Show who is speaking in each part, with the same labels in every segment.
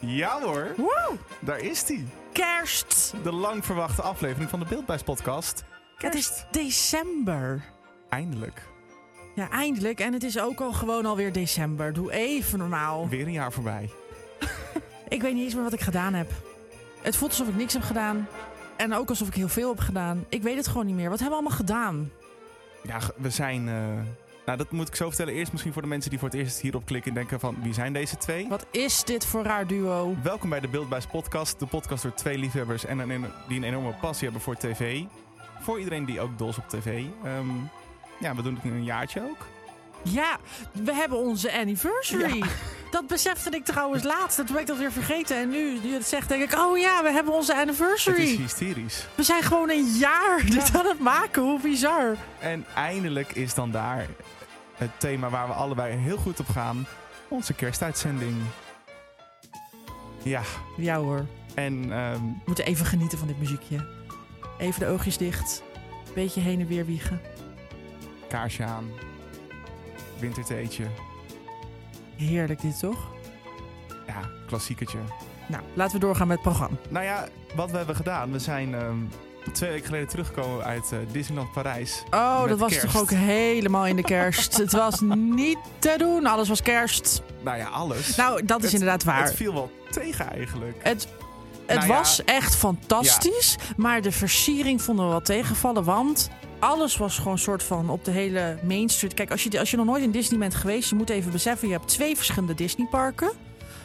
Speaker 1: Ja hoor,
Speaker 2: Woe!
Speaker 1: daar is die.
Speaker 2: Kerst!
Speaker 1: De lang verwachte aflevering van de Beeldbuis podcast.
Speaker 2: Het is december.
Speaker 1: Eindelijk.
Speaker 2: Ja, eindelijk. En het is ook al gewoon alweer december. Doe even normaal.
Speaker 1: Weer een jaar voorbij.
Speaker 2: Ik weet niet eens meer wat ik gedaan heb. Het voelt alsof ik niks heb gedaan. En ook alsof ik heel veel heb gedaan. Ik weet het gewoon niet meer. Wat hebben we allemaal gedaan?
Speaker 1: Ja, g- we zijn... eh, Nou, dat moet ik zo vertellen. Eerst misschien voor de mensen die voor het eerst hierop klikken en denken van... Wie zijn deze twee?
Speaker 2: Wat is dit voor raar duo?
Speaker 1: Welkom bij de Beeldbuis podcast. De podcast door twee liefhebbers en een, die een enorme passie hebben voor tv. Voor iedereen die ook dol is op tv. Ehm, ja, we doen het nu een jaartje ook.
Speaker 2: Ja, we hebben onze anniversary. Dat besefte ik trouwens laatst. Dat ben ik dat weer vergeten. En nu nu je het zegt, denk ik... Oh ja, we hebben onze
Speaker 1: Het is
Speaker 2: anniversary.
Speaker 1: hysterisch.
Speaker 2: We zijn gewoon een jaar dit aan het maken. Hoe bizar.
Speaker 1: En eindelijk is dan daar het thema waar we allebei heel goed op gaan. Onze kerstuitzending. Ja,
Speaker 2: Ja hoor.
Speaker 1: en ehm,
Speaker 2: We moeten even genieten van dit muziekje. Even de oogjes dicht. Beetje heen en weer wiegen.
Speaker 1: kaarsje aan. Winterteetje.
Speaker 2: Heerlijk dit toch?
Speaker 1: Ja, klassiekertje.
Speaker 2: Nou, laten we doorgaan met het programma.
Speaker 1: Nou ja, wat we hebben gedaan. We zijn ehm, twee weken geleden teruggekomen uit eh, Disneyland Parijs.
Speaker 2: Oh,
Speaker 1: Met
Speaker 2: dat was
Speaker 1: kerst.
Speaker 2: toch ook helemaal in de kerst. het was niet te doen. Alles was kerst.
Speaker 1: Nou ja, alles.
Speaker 2: Nou, dat is
Speaker 1: Het-
Speaker 2: inderdaad waar.
Speaker 1: Het viel wel tegen eigenlijk.
Speaker 2: Het, het
Speaker 1: Nou ja.
Speaker 2: was echt fantastisch. Maar de versiering vonden we wel tegenvallen. Want alles was gewoon soort van op de hele Main Street. Kijk, als je, als je nog nooit in Disney bent geweest, je moet even beseffen: je hebt twee verschillende Disneyparken.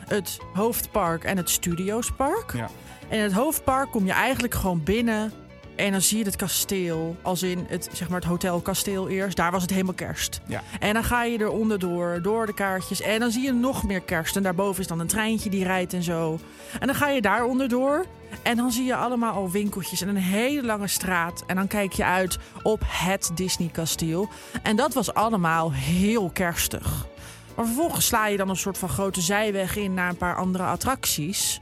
Speaker 2: Het hoofdpark en het studiospark.
Speaker 1: Ja.
Speaker 2: En in het hoofdpark kom je eigenlijk gewoon binnen. En dan zie je het kasteel, als in het, zeg maar het hotelkasteel eerst. Daar was het helemaal kerst.
Speaker 1: Ja.
Speaker 2: En dan ga je er onderdoor, door de kaartjes. En dan zie je nog meer kerst. En daarboven is dan een treintje die rijdt en zo. En dan ga je daar onderdoor. En dan zie je allemaal al winkeltjes en een hele lange straat. En dan kijk je uit op het Disney-kasteel. En dat was allemaal heel kerstig. Maar vervolgens sla je dan een soort van grote zijweg in naar een paar andere attracties.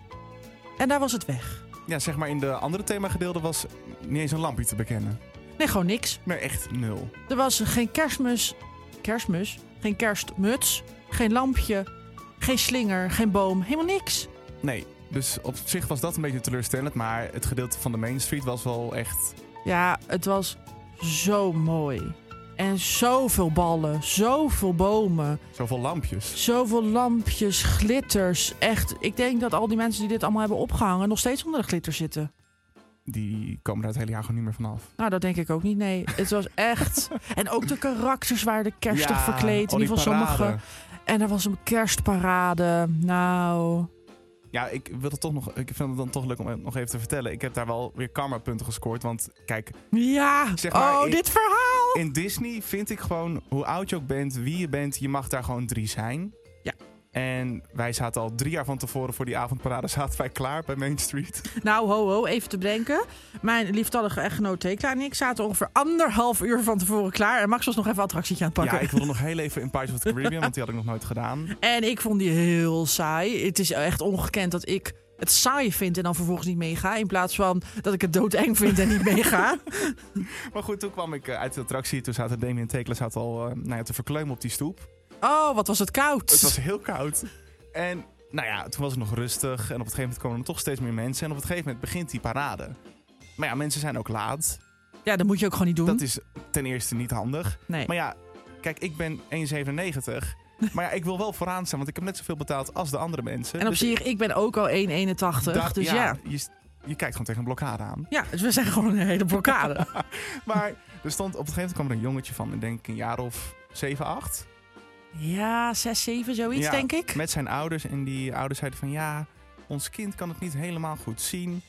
Speaker 2: En daar was het weg.
Speaker 1: Ja, zeg maar in de andere themagedeelte was niet eens een lampje te bekennen.
Speaker 2: Nee, gewoon niks.
Speaker 1: Maar echt nul.
Speaker 2: Er was geen kerstmis. Kerstmis? Geen kerstmuts. Geen lampje. Geen slinger. Geen boom. Helemaal niks.
Speaker 1: Nee, dus op zich was dat een beetje teleurstellend. Maar het gedeelte van de Main Street was wel echt...
Speaker 2: Ja, het was zo mooi. En zoveel ballen. Zoveel bomen.
Speaker 1: Zoveel lampjes.
Speaker 2: Zoveel lampjes. Glitters. Echt. Ik denk dat al die mensen die dit allemaal hebben opgehangen. nog steeds onder de glitter zitten.
Speaker 1: Die komen daar het hele jaar gewoon niet meer vanaf.
Speaker 2: Nou, dat denk ik ook niet. Nee. Het was echt. en ook de karakters waren kerstig
Speaker 1: Ja,
Speaker 2: verkleed.
Speaker 1: al die
Speaker 2: In ieder geval sommige.
Speaker 1: paraden.
Speaker 2: En er was een kerstparade. Nou.
Speaker 1: Ja, ik, wil het toch nog, ik vind het dan toch leuk om het nog even te vertellen. Ik heb daar wel weer karmapunten gescoord. Want kijk,
Speaker 2: Ja,
Speaker 1: Zeg maar,
Speaker 2: oh,
Speaker 1: ik-
Speaker 2: dit verhaal!
Speaker 1: in Disney vind ik gewoon... hoe oud je ook bent, wie je bent... je mag daar gewoon drie zijn.
Speaker 2: Ja.
Speaker 1: En wij zaten al drie jaar van tevoren voor die avondparade... zaten wij klaar bij Main Street.
Speaker 2: Nou, ho, ho, even te bedenken. Mijn lieftallige echtgenoot Tekla en ik zaten ongeveer anderhalf uur van tevoren klaar. En Max was nog even een attractietje aan het pakken.
Speaker 1: Ja, ik wilde nog heel even in Pirates of the Caribbean, want die had ik nog nooit gedaan.
Speaker 2: En ik vond die heel saai. Het is echt ongekend dat ik het saai vind en dan vervolgens niet meega. In plaats van dat ik het doodeng vind en niet meega.
Speaker 1: Maar goed, toen kwam ik eh, uit de attractie. Toen zaten Damien en Tekla zaten al eh, nou ja, te verkleumen op die stoep.
Speaker 2: Oh, wat was het koud.
Speaker 1: Het was heel koud. En nou ja, toen was het nog rustig. En op een gegeven moment komen er toch steeds meer mensen. En op een gegeven moment begint die parade. Maar ja, mensen zijn ook laat.
Speaker 2: Ja, dat moet je ook gewoon niet doen.
Speaker 1: Dat is ten eerste niet handig.
Speaker 2: Nee.
Speaker 1: Maar ja, kijk, ik ben 1,97. Maar ja, ik wil wel vooraan staan, want ik heb net zoveel betaald als de andere mensen.
Speaker 2: En op
Speaker 1: Dus
Speaker 2: zich, ik ben ook al 1,81.
Speaker 1: dat-
Speaker 2: Dus ja.
Speaker 1: ja,
Speaker 2: ja.
Speaker 1: Je, s- je kijkt gewoon tegen een blokkade aan.
Speaker 2: dus we zijn gewoon een hele blokkade.
Speaker 1: Maar er stond op een gegeven moment kwam er een jongetje van, ik denk een jaar of 7, 8.
Speaker 2: ja, 6, 7, zoiets
Speaker 1: Ja,
Speaker 2: denk ik.
Speaker 1: Met zijn ouders. En die ouders zeiden van ja, ons kind kan het niet helemaal goed zien.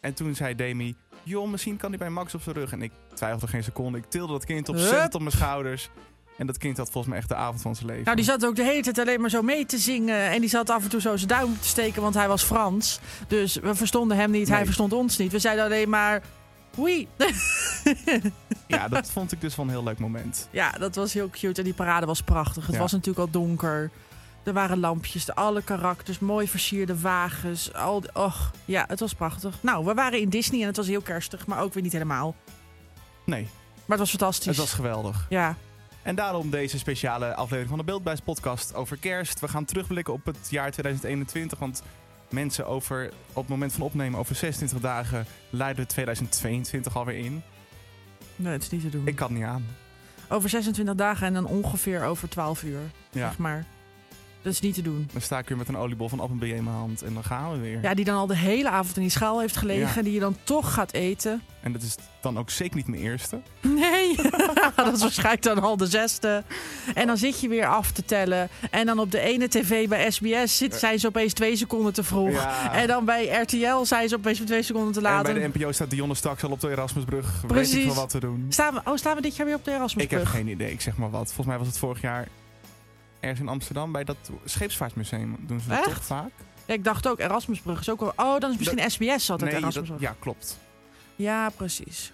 Speaker 1: En toen zei Demi, joh, misschien kan hij bij Max op zijn rug. En ik twijfelde geen seconde. Ik tilde dat kind
Speaker 2: Hup.
Speaker 1: opzettend op mijn schouders. En dat kind had volgens mij echt de avond van zijn leven.
Speaker 2: Nou, die zat ook de hele tijd alleen maar zo mee te zingen. En die zat af en toe zo zijn duim te steken, want hij was Frans. Dus we verstonden hem niet, hij
Speaker 1: Nee.
Speaker 2: verstond ons niet. We zeiden alleen maar... Oui.
Speaker 1: Ja, dat vond ik dus wel een heel leuk moment.
Speaker 2: ja, dat was heel cute. En die parade was prachtig. Het
Speaker 1: Ja.
Speaker 2: was natuurlijk al donker. Er waren lampjes, de alle karakters, mooi versierde wagens. Al, die- och, ja, het was prachtig. Nou, we waren in Disney en het was heel kerstig, maar ook weer niet helemaal.
Speaker 1: Nee,
Speaker 2: Maar het was fantastisch.
Speaker 1: het was geweldig.
Speaker 2: Ja,
Speaker 1: En daarom deze speciale aflevering van de Beeldbuis podcast over kerst. We gaan terugblikken op het jaar 2021, want mensen over, op het moment van opnemen, over 26 dagen luiden 2022 alweer in.
Speaker 2: Nee, het is niet te doen.
Speaker 1: Ik kan het niet aan.
Speaker 2: Over 26 dagen en dan ongeveer over 12 uur,
Speaker 1: Ja.
Speaker 2: zeg maar. Dat is niet te doen.
Speaker 1: Dan sta ik weer met een oliebol van appelbier in mijn hand en dan gaan we weer.
Speaker 2: Ja, die dan al de hele avond in die schaal heeft gelegen. Die je dan toch gaat eten.
Speaker 1: En dat is dan ook zeker niet mijn eerste.
Speaker 2: Nee, dat is waarschijnlijk dan al de zesde. En dan zit je weer af te tellen. En dan op de ene tv bij SBS zit, zijn ze opeens twee seconden te vroeg.
Speaker 1: Ja.
Speaker 2: En dan bij RTL zijn ze opeens twee seconden te
Speaker 1: En
Speaker 2: laat.
Speaker 1: bij de NPO staat Dionne straks al op de Erasmusbrug. Weet
Speaker 2: Precies.
Speaker 1: ik wel wat te doen.
Speaker 2: Staan we, oh, staan we dit jaar weer op de
Speaker 1: Ik heb
Speaker 2: Erasmusbrug?
Speaker 1: geen idee, ik zeg maar wat. Volgens mij was het vorig jaar ergens in Amsterdam bij dat scheepvaartmuseum. Doen ze dat
Speaker 2: Echt?
Speaker 1: toch vaak?
Speaker 2: Ja, ik dacht ook, Erasmusbrug is ook al... Oh, dan is misschien SBS altijd
Speaker 1: dat-
Speaker 2: Erasmusbrug.
Speaker 1: ja, klopt.
Speaker 2: Ja, precies.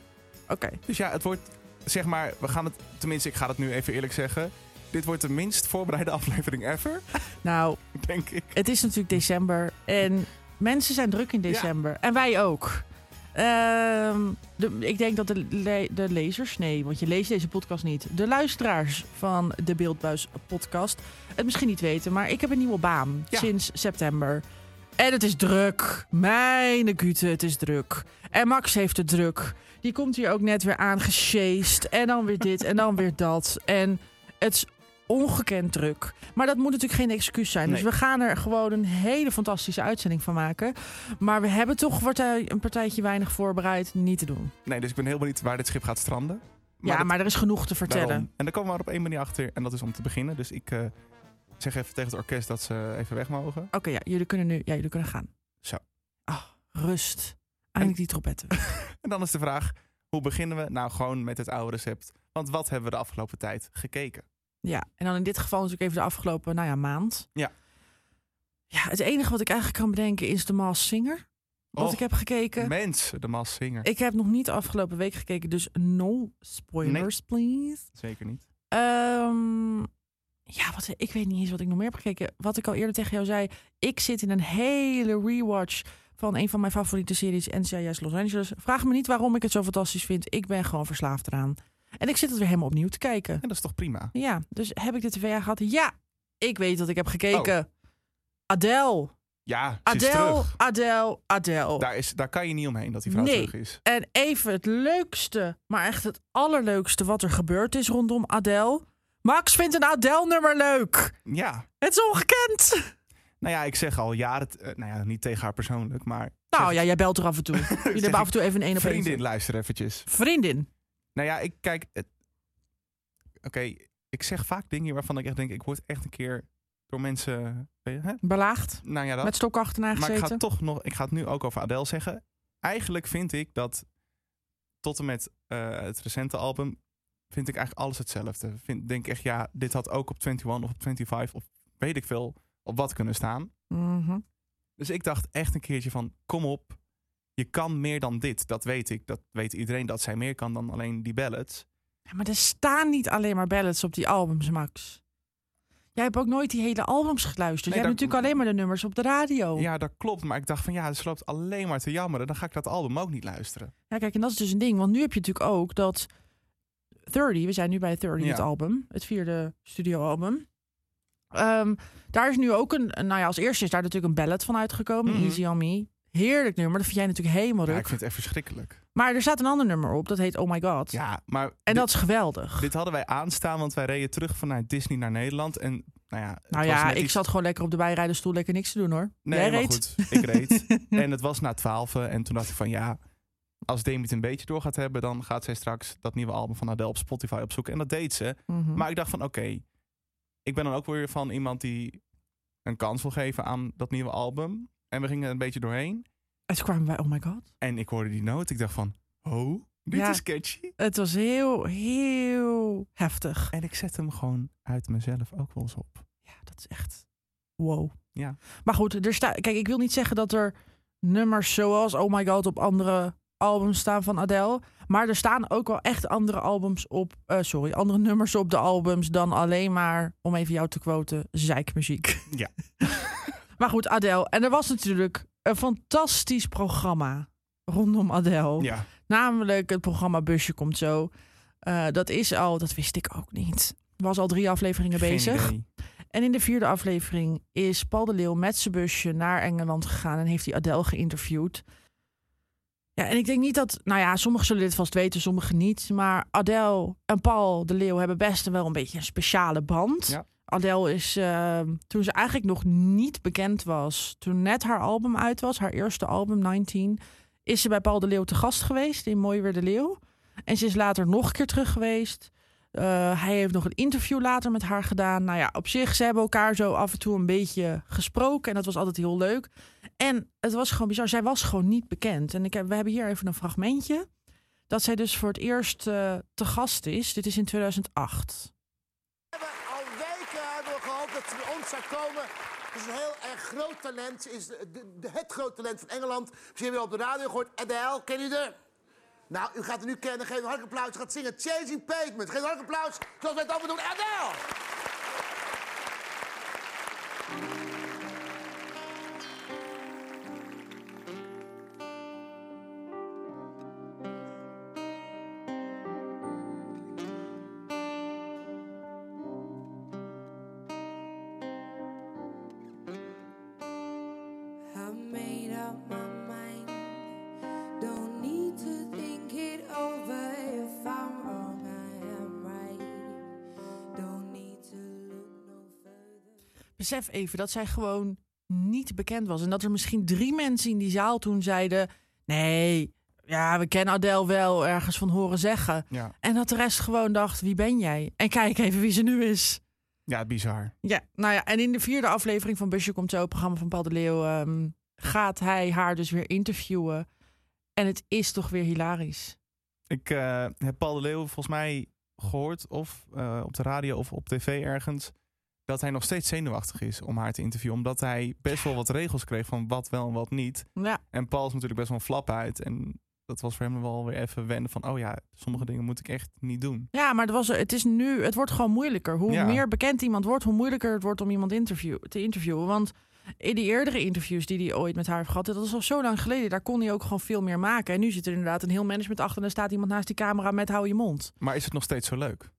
Speaker 2: Oké.
Speaker 1: Dus ja, het wordt, zeg maar, we gaan het, tenminste, ik ga dat nu even eerlijk zeggen. Dit wordt de minst voorbereide aflevering ever,
Speaker 2: Nou,
Speaker 1: denk ik.
Speaker 2: het is natuurlijk december. En mensen zijn druk in december. En wij ook. Ehm, de- ik denk dat de, le- de lezers, nee, want je leest deze podcast niet. De luisteraars van de Beeldbuis podcast het misschien niet weten. Maar ik heb een nieuwe baan
Speaker 1: Ja.
Speaker 2: sinds september. En het is druk. Mijn gute, het is druk. En Max heeft het druk. Die komt hier ook net weer aangesjeest. En dan weer dit en dan weer dat. En het is ongekend druk. Maar dat moet natuurlijk geen excuus zijn.
Speaker 1: Nee.
Speaker 2: Dus we gaan er gewoon een hele fantastische uitzending van maken. Maar we hebben toch partij- een partijtje weinig voorbereid. Niet te doen.
Speaker 1: Nee, dus ik ben heel benieuwd waar dit schip gaat stranden.
Speaker 2: ja,
Speaker 1: dat-
Speaker 2: maar er is genoeg te vertellen.
Speaker 1: daarom. En daar komen we maar op één manier achter, en dat is om te beginnen. Dus ik eh, zeg even tegen het orkest dat ze even weg mogen.
Speaker 2: Oké, ja, jullie kunnen nu. Ja, jullie kunnen gaan.
Speaker 1: Zo.
Speaker 2: Ah, rust. Eindelijk die trompetten.
Speaker 1: En dan is de vraag, hoe beginnen we? Nou, gewoon met het oude recept. Want wat hebben we de afgelopen tijd gekeken?
Speaker 2: Ja, en dan in dit geval natuurlijk even de afgelopen, nou ja, maand.
Speaker 1: Ja.
Speaker 2: Ja, het enige wat ik eigenlijk kan bedenken is de Maas Singer. Wat
Speaker 1: Och,
Speaker 2: ik heb gekeken.
Speaker 1: Mens, de Mas Singer.
Speaker 2: Ik heb nog niet de afgelopen week gekeken, dus no spoilers, please.
Speaker 1: Zeker niet.
Speaker 2: Ehm, ja, wat, ik weet niet eens wat ik nog meer heb gekeken. Wat ik al eerder tegen jou zei, ik zit in een hele rewatch van een van mijn favoriete series, NCIS Los Angeles. Vraag me niet waarom ik het zo fantastisch vind. Ik ben gewoon verslaafd eraan. En ik zit het weer helemaal opnieuw te kijken.
Speaker 1: En dat is toch prima?
Speaker 2: Ja, dus heb ik de tv aan gehad? Ja, ik weet dat ik heb gekeken. Adele,
Speaker 1: Ja, Oh. ze is
Speaker 2: Adele,
Speaker 1: terug.
Speaker 2: Adele, Adele.
Speaker 1: Daar, is, daar kan je niet omheen dat die vrouw
Speaker 2: Nee.
Speaker 1: terug is.
Speaker 2: En even het leukste, maar echt het allerleukste wat er gebeurd is rondom Adele. Max vindt een Adele-nummer leuk.
Speaker 1: Ja.
Speaker 2: Het is ongekend.
Speaker 1: Nou ja, ik zeg al jaren, t- eh, nou ja, niet tegen haar persoonlijk, maar
Speaker 2: Nou ja, jij belt er af en toe. Jullie hebben af en toe even een één op één.
Speaker 1: vriendin, luister eventjes.
Speaker 2: Vriendin.
Speaker 1: Nou ja, ik kijk, het- oké, ik zeg vaak dingen waarvan ik echt denk, ik word echt een keer door mensen, hè?
Speaker 2: Belaagd.
Speaker 1: nou ja, dat.
Speaker 2: Met stok achterna
Speaker 1: Maar ik ga,
Speaker 2: gezeten.
Speaker 1: toch nog, ik ga het nu ook over Adele zeggen. Eigenlijk vind ik dat tot en met eh, het recente album vind ik eigenlijk alles hetzelfde. Vind, denk echt, ja, dit had ook op 21 of op 25 of weet ik veel op wat kunnen staan.
Speaker 2: Mhm.
Speaker 1: Dus ik dacht echt een keertje van, kom op, je kan meer dan dit. Dat weet ik, dat weet iedereen dat zij meer kan dan alleen die ballads.
Speaker 2: Ja, maar er staan niet alleen maar ballads op die albums, Max. Jij hebt ook nooit die hele albums geluisterd.
Speaker 1: Nee,
Speaker 2: Jij hebt
Speaker 1: daar-
Speaker 2: natuurlijk alleen maar de nummers op de radio. Ja.
Speaker 1: Ja, dat klopt, maar ik dacht van, ja, ze loopt alleen maar te jammeren. Dan ga ik dat album ook niet luisteren.
Speaker 2: kijk, en dat is dus een ding. Want nu heb je natuurlijk ook dat 30, we zijn nu bij 30, het
Speaker 1: Ja.
Speaker 2: album. Het vierde studioalbum. Ehm, daar is nu ook een, een- nou ja, als eerste is daar natuurlijk een ballad van uitgekomen.
Speaker 1: Mhm.
Speaker 2: Easy on Me. Heerlijk nummer, dat vind jij natuurlijk helemaal
Speaker 1: Ja,
Speaker 2: ruk.
Speaker 1: ik vind het echt verschrikkelijk.
Speaker 2: Maar er staat een ander nummer op, dat heet Oh My God.
Speaker 1: Ja, maar
Speaker 2: En
Speaker 1: dit-
Speaker 2: dat is geweldig.
Speaker 1: Dit hadden wij aanstaan, want wij reden terug vanuit Disney naar Nederland. En nou ja, het
Speaker 2: nou
Speaker 1: was
Speaker 2: ja,
Speaker 1: net
Speaker 2: ik
Speaker 1: iets-
Speaker 2: zat gewoon lekker op de bijrijdenstoel, lekker niks te doen hoor.
Speaker 1: Nee,
Speaker 2: Jij
Speaker 1: maar
Speaker 2: reed.
Speaker 1: goed, ik reed. en het was na twaalf en toen dacht ik van ja, als Demi het een beetje door gaat hebben... dan gaat zij straks dat nieuwe album van Adele op Spotify opzoeken. En dat deed ze.
Speaker 2: Mhm.
Speaker 1: Maar ik dacht van oké, ik ben dan ook weer van iemand die een kans wil geven aan dat nieuwe album. En we gingen er een beetje doorheen.
Speaker 2: En toen kwamen wij, oh my god.
Speaker 1: En ik hoorde die noot. Ik dacht van, oh, dit
Speaker 2: Ja.
Speaker 1: is catchy.
Speaker 2: Het was heel, heel heftig.
Speaker 1: En ik zet hem gewoon uit mezelf ook wel eens op.
Speaker 2: Ja, dat is echt wow.
Speaker 1: Ja.
Speaker 2: Maar goed, er staat. Kijk, ik wil niet zeggen dat er nummers zoals Oh My God op andere albums staan van Adele. Maar er staan ook wel echt andere albums op. eh, sorry, andere nummers op de albums dan alleen maar, om even jou te quoten, zeikmuziek.
Speaker 1: Ja.
Speaker 2: maar goed, Adele. En er was natuurlijk een fantastisch programma rondom Adele.
Speaker 1: Ja,
Speaker 2: Namelijk het programma Busje komt zo. Eh, dat is al, dat wist ik ook niet. Was al drie afleveringen
Speaker 1: geen
Speaker 2: bezig.
Speaker 1: idee.
Speaker 2: En in de vierde aflevering is Paul de Leeuw met zijn busje naar Engeland gegaan en heeft hij Adele geïnterviewd. Ja, en ik denk niet dat, nou ja, sommigen zullen dit vast weten, sommigen niet. Maar Adele en Paul de Leeuw hebben best wel een beetje een speciale band.
Speaker 1: Ja.
Speaker 2: Adele is, eh, toen ze eigenlijk nog niet bekend was, toen net haar album uit was, haar eerste album 19, is ze bij Paul de Leeuw te gast geweest in Mooi Weer de Leeuw. En ze is later nog een keer terug geweest. Eh, hij heeft nog een interview later met haar gedaan. Nou ja, op zich, ze hebben elkaar zo af en toe een beetje gesproken. En dat was altijd heel leuk. En het was gewoon bizar. Zij was gewoon niet bekend. En ik heb, we hebben hier even een fragmentje. Dat zij dus voor het eerst eh, te gast is. Dit is in 2008.
Speaker 3: We hebben al weken hebben we gehoopt dat ze bij ons zou komen. Het is een heel erg groot talent. Ze is de, de- de- het groot talent van Engeland. Misschien hebben jullie op de radio gehoord. Adele, ken je haar? Nou, u gaat haar nu kennen. Geef een hartelijk applaus. Ze gaat zingen Changing Pavement. Geef een hartelijk applaus zoals wij het altijd doen. Adele!
Speaker 4: I've made up my mind. Don't need to think it over. If I'm wrong, I am right. Don't need to look no further.
Speaker 2: Besef even dat zij gewoon niet bekend was. En dat er misschien drie mensen in die zaal toen zeiden... Nee, ja, we kennen Adele wel ergens van horen zeggen.
Speaker 1: Ja.
Speaker 2: En dat de rest gewoon dacht, wie ben jij? En kijk even wie ze nu is.
Speaker 1: ja, bizar.
Speaker 2: Ja, nou ja, en in de vierde aflevering van Busje Komt Zo, het programma van Paul de Leeuw, ehm, gaat hij haar dus weer interviewen. En het is toch weer hilarisch.
Speaker 1: Ik eh, heb Paul de Leeuw volgens mij gehoord, of eh, op de radio of op tv ergens, dat hij nog steeds zenuwachtig is om haar te interviewen. Omdat hij best wel wat regels kreeg van wat wel en wat niet.
Speaker 2: Ja,
Speaker 1: En Paul is natuurlijk best wel een flap uit. En dat was voor hem wel weer even wennen van, oh ja, sommige dingen moet ik echt niet doen.
Speaker 2: ja maar het, was, het, is nu, het wordt gewoon moeilijker. Hoe
Speaker 1: Ja.
Speaker 2: meer bekend iemand wordt, hoe moeilijker het wordt om iemand interview, te interviewen. Want in die eerdere interviews die hij ooit met haar heeft gehad, dat was al zo lang geleden, daar kon hij ook gewoon veel meer maken. En nu zit er inderdaad een heel management achter en er staat iemand naast die camera met hou je mond.
Speaker 1: Maar is het nog steeds zo leuk?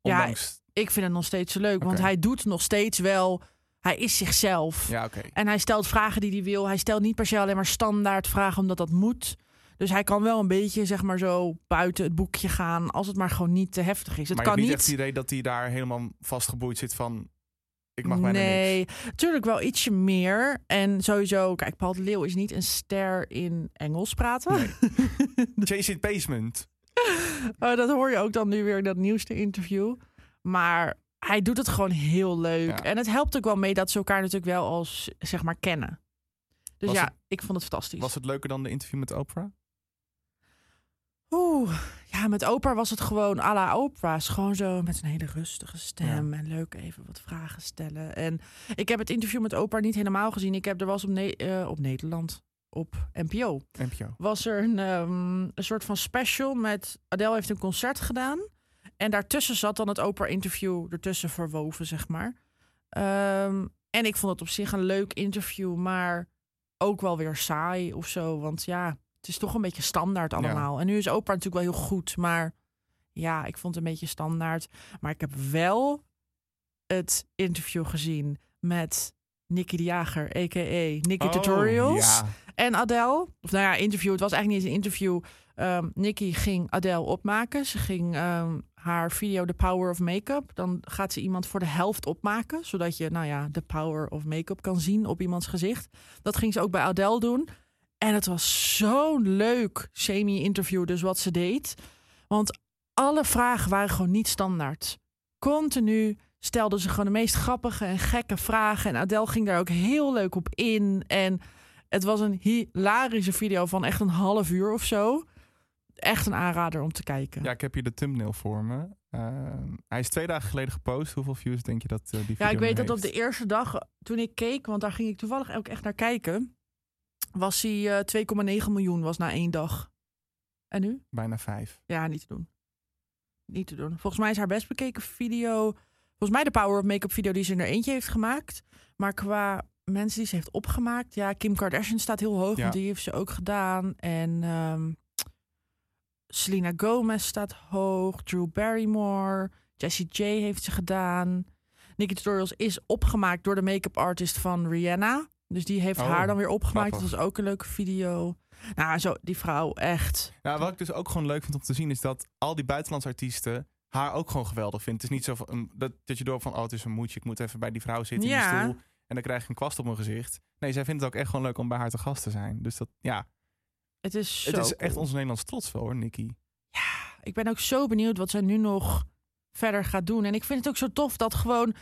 Speaker 2: Ja,
Speaker 1: Ondanks...
Speaker 2: Ik vind het nog steeds zo leuk, want
Speaker 1: Oké.
Speaker 2: hij doet nog steeds wel, hij is zichzelf.
Speaker 1: Ja, oké.
Speaker 2: En hij stelt vragen die hij wil. Hij stelt niet per se alleen maar standaard vragen omdat dat moet. Dus hij kan wel een beetje, zeg maar zo, buiten het boekje gaan. Als het maar gewoon niet te heftig is. Het
Speaker 1: maar je hebt
Speaker 2: kan niet.
Speaker 1: niet echt het idee dat hij daar helemaal vastgeboeid zit van, ik mag bijna
Speaker 2: nee,
Speaker 1: niks.
Speaker 2: natuurlijk wel ietsje meer. En sowieso, kijk, Paul de Leeuw is niet een ster in Engels praten.
Speaker 1: Chase in Basement.
Speaker 2: Eh, dat hoor je ook dan nu weer in dat nieuwste interview. Maar hij doet het gewoon heel leuk.
Speaker 1: Ja.
Speaker 2: En het helpt ook wel mee dat ze elkaar natuurlijk wel als, zeg maar, kennen. Dus
Speaker 1: Was
Speaker 2: ja,
Speaker 1: het-
Speaker 2: ik vond het fantastisch.
Speaker 1: Was het leuker dan de interview met Oprah?
Speaker 2: Oeh, ja, met Oprah was het gewoon à la Oprah's. Gewoon zo met een hele rustige stem en leuk even wat vragen stellen. En ik heb het interview met Oprah niet helemaal gezien. Ik heb er was op, Ne- eh, op Nederland, op NPO,
Speaker 1: NPO.
Speaker 2: was er een, ehm, een soort van special met Adele heeft een concert gedaan. En daartussen zat dan het Oprah-interview ertussen verwoven, zeg maar. Ehm, en ik vond het op zich een leuk interview, maar ook wel weer saai of zo. Want ja, het is toch een beetje standaard allemaal. En nu is Oprah natuurlijk wel heel goed, maar ja, ik vond het een beetje standaard. Maar ik heb wel het interview gezien met Nicky de Jager, a.k.a. Nicky
Speaker 1: Oh,
Speaker 2: Tutorials.
Speaker 1: Ja.
Speaker 2: En Adele, of nou ja, interview. Het was eigenlijk niet eens een interview. Ehm Nikki ging Adele opmaken. Ze ging ehm, haar video The Power of Makeup. Dan gaat ze iemand voor de helft opmaken. Zodat je, nou ja, de power of makeup kan zien op iemands gezicht. Dat ging ze ook bij Adele doen. En het was zo'n leuk semi-interview, dus wat ze deed. Want alle vragen waren gewoon niet standaard. Continu stelden ze gewoon de meest grappige en gekke vragen. En Adele ging daar ook heel leuk op in. En het was een hilarische video van echt een half uur of zo. Echt een aanrader om te kijken.
Speaker 1: Ja, ik heb hier de thumbnail voor me. Ehm, hij is twee dagen geleden gepost. Hoeveel views denk je dat eh, die video
Speaker 2: Ja, ik weet
Speaker 1: nu
Speaker 2: dat op de
Speaker 1: heeft?
Speaker 2: eerste dag eh, toen ik keek, want daar ging ik toevallig ook echt naar kijken, was hij eh, 2,9 miljoen was na één dag. En nu?
Speaker 1: Bijna vijf.
Speaker 2: Ja, niet te doen. Niet te doen. Volgens mij is haar best bekeken video, volgens mij de Power of Make-up video die ze in er eentje heeft gemaakt. Maar qua mensen die ze heeft opgemaakt, ja, Kim Kardashian staat heel hoog,
Speaker 1: Ja.
Speaker 2: want die heeft ze ook gedaan. En ehm, Selena Gomez staat hoog, Drew Barrymore, Jessie J heeft ze gedaan. Nikki Tutorials is opgemaakt door de make-up artist van Rihanna. Dus die heeft
Speaker 1: Oh,
Speaker 2: haar dan weer opgemaakt.
Speaker 1: grappig.
Speaker 2: Dat was ook een leuke video. Nou, zo, die vrouw echt.
Speaker 1: Ja, wat ik dus ook gewoon leuk vind om te zien is dat al die buitenlandse artiesten haar ook gewoon geweldig vinden. Het is niet zo van, um, dat, dat je door van, oh het is een moedje, ik moet even bij die vrouw zitten in
Speaker 2: Ja.
Speaker 1: die stoel. En dan krijg ik een kwast op mijn gezicht. Nee, zij vindt het ook echt gewoon leuk om bij haar te gast te zijn. Dus dat, ja,
Speaker 2: Het is zo
Speaker 1: het is echt
Speaker 2: cool.
Speaker 1: ons Nederlands trots wel hoor, Nicky.
Speaker 2: Ik ben ook zo benieuwd wat zij nu nog verder gaat doen. En ik vind het ook zo tof dat gewoon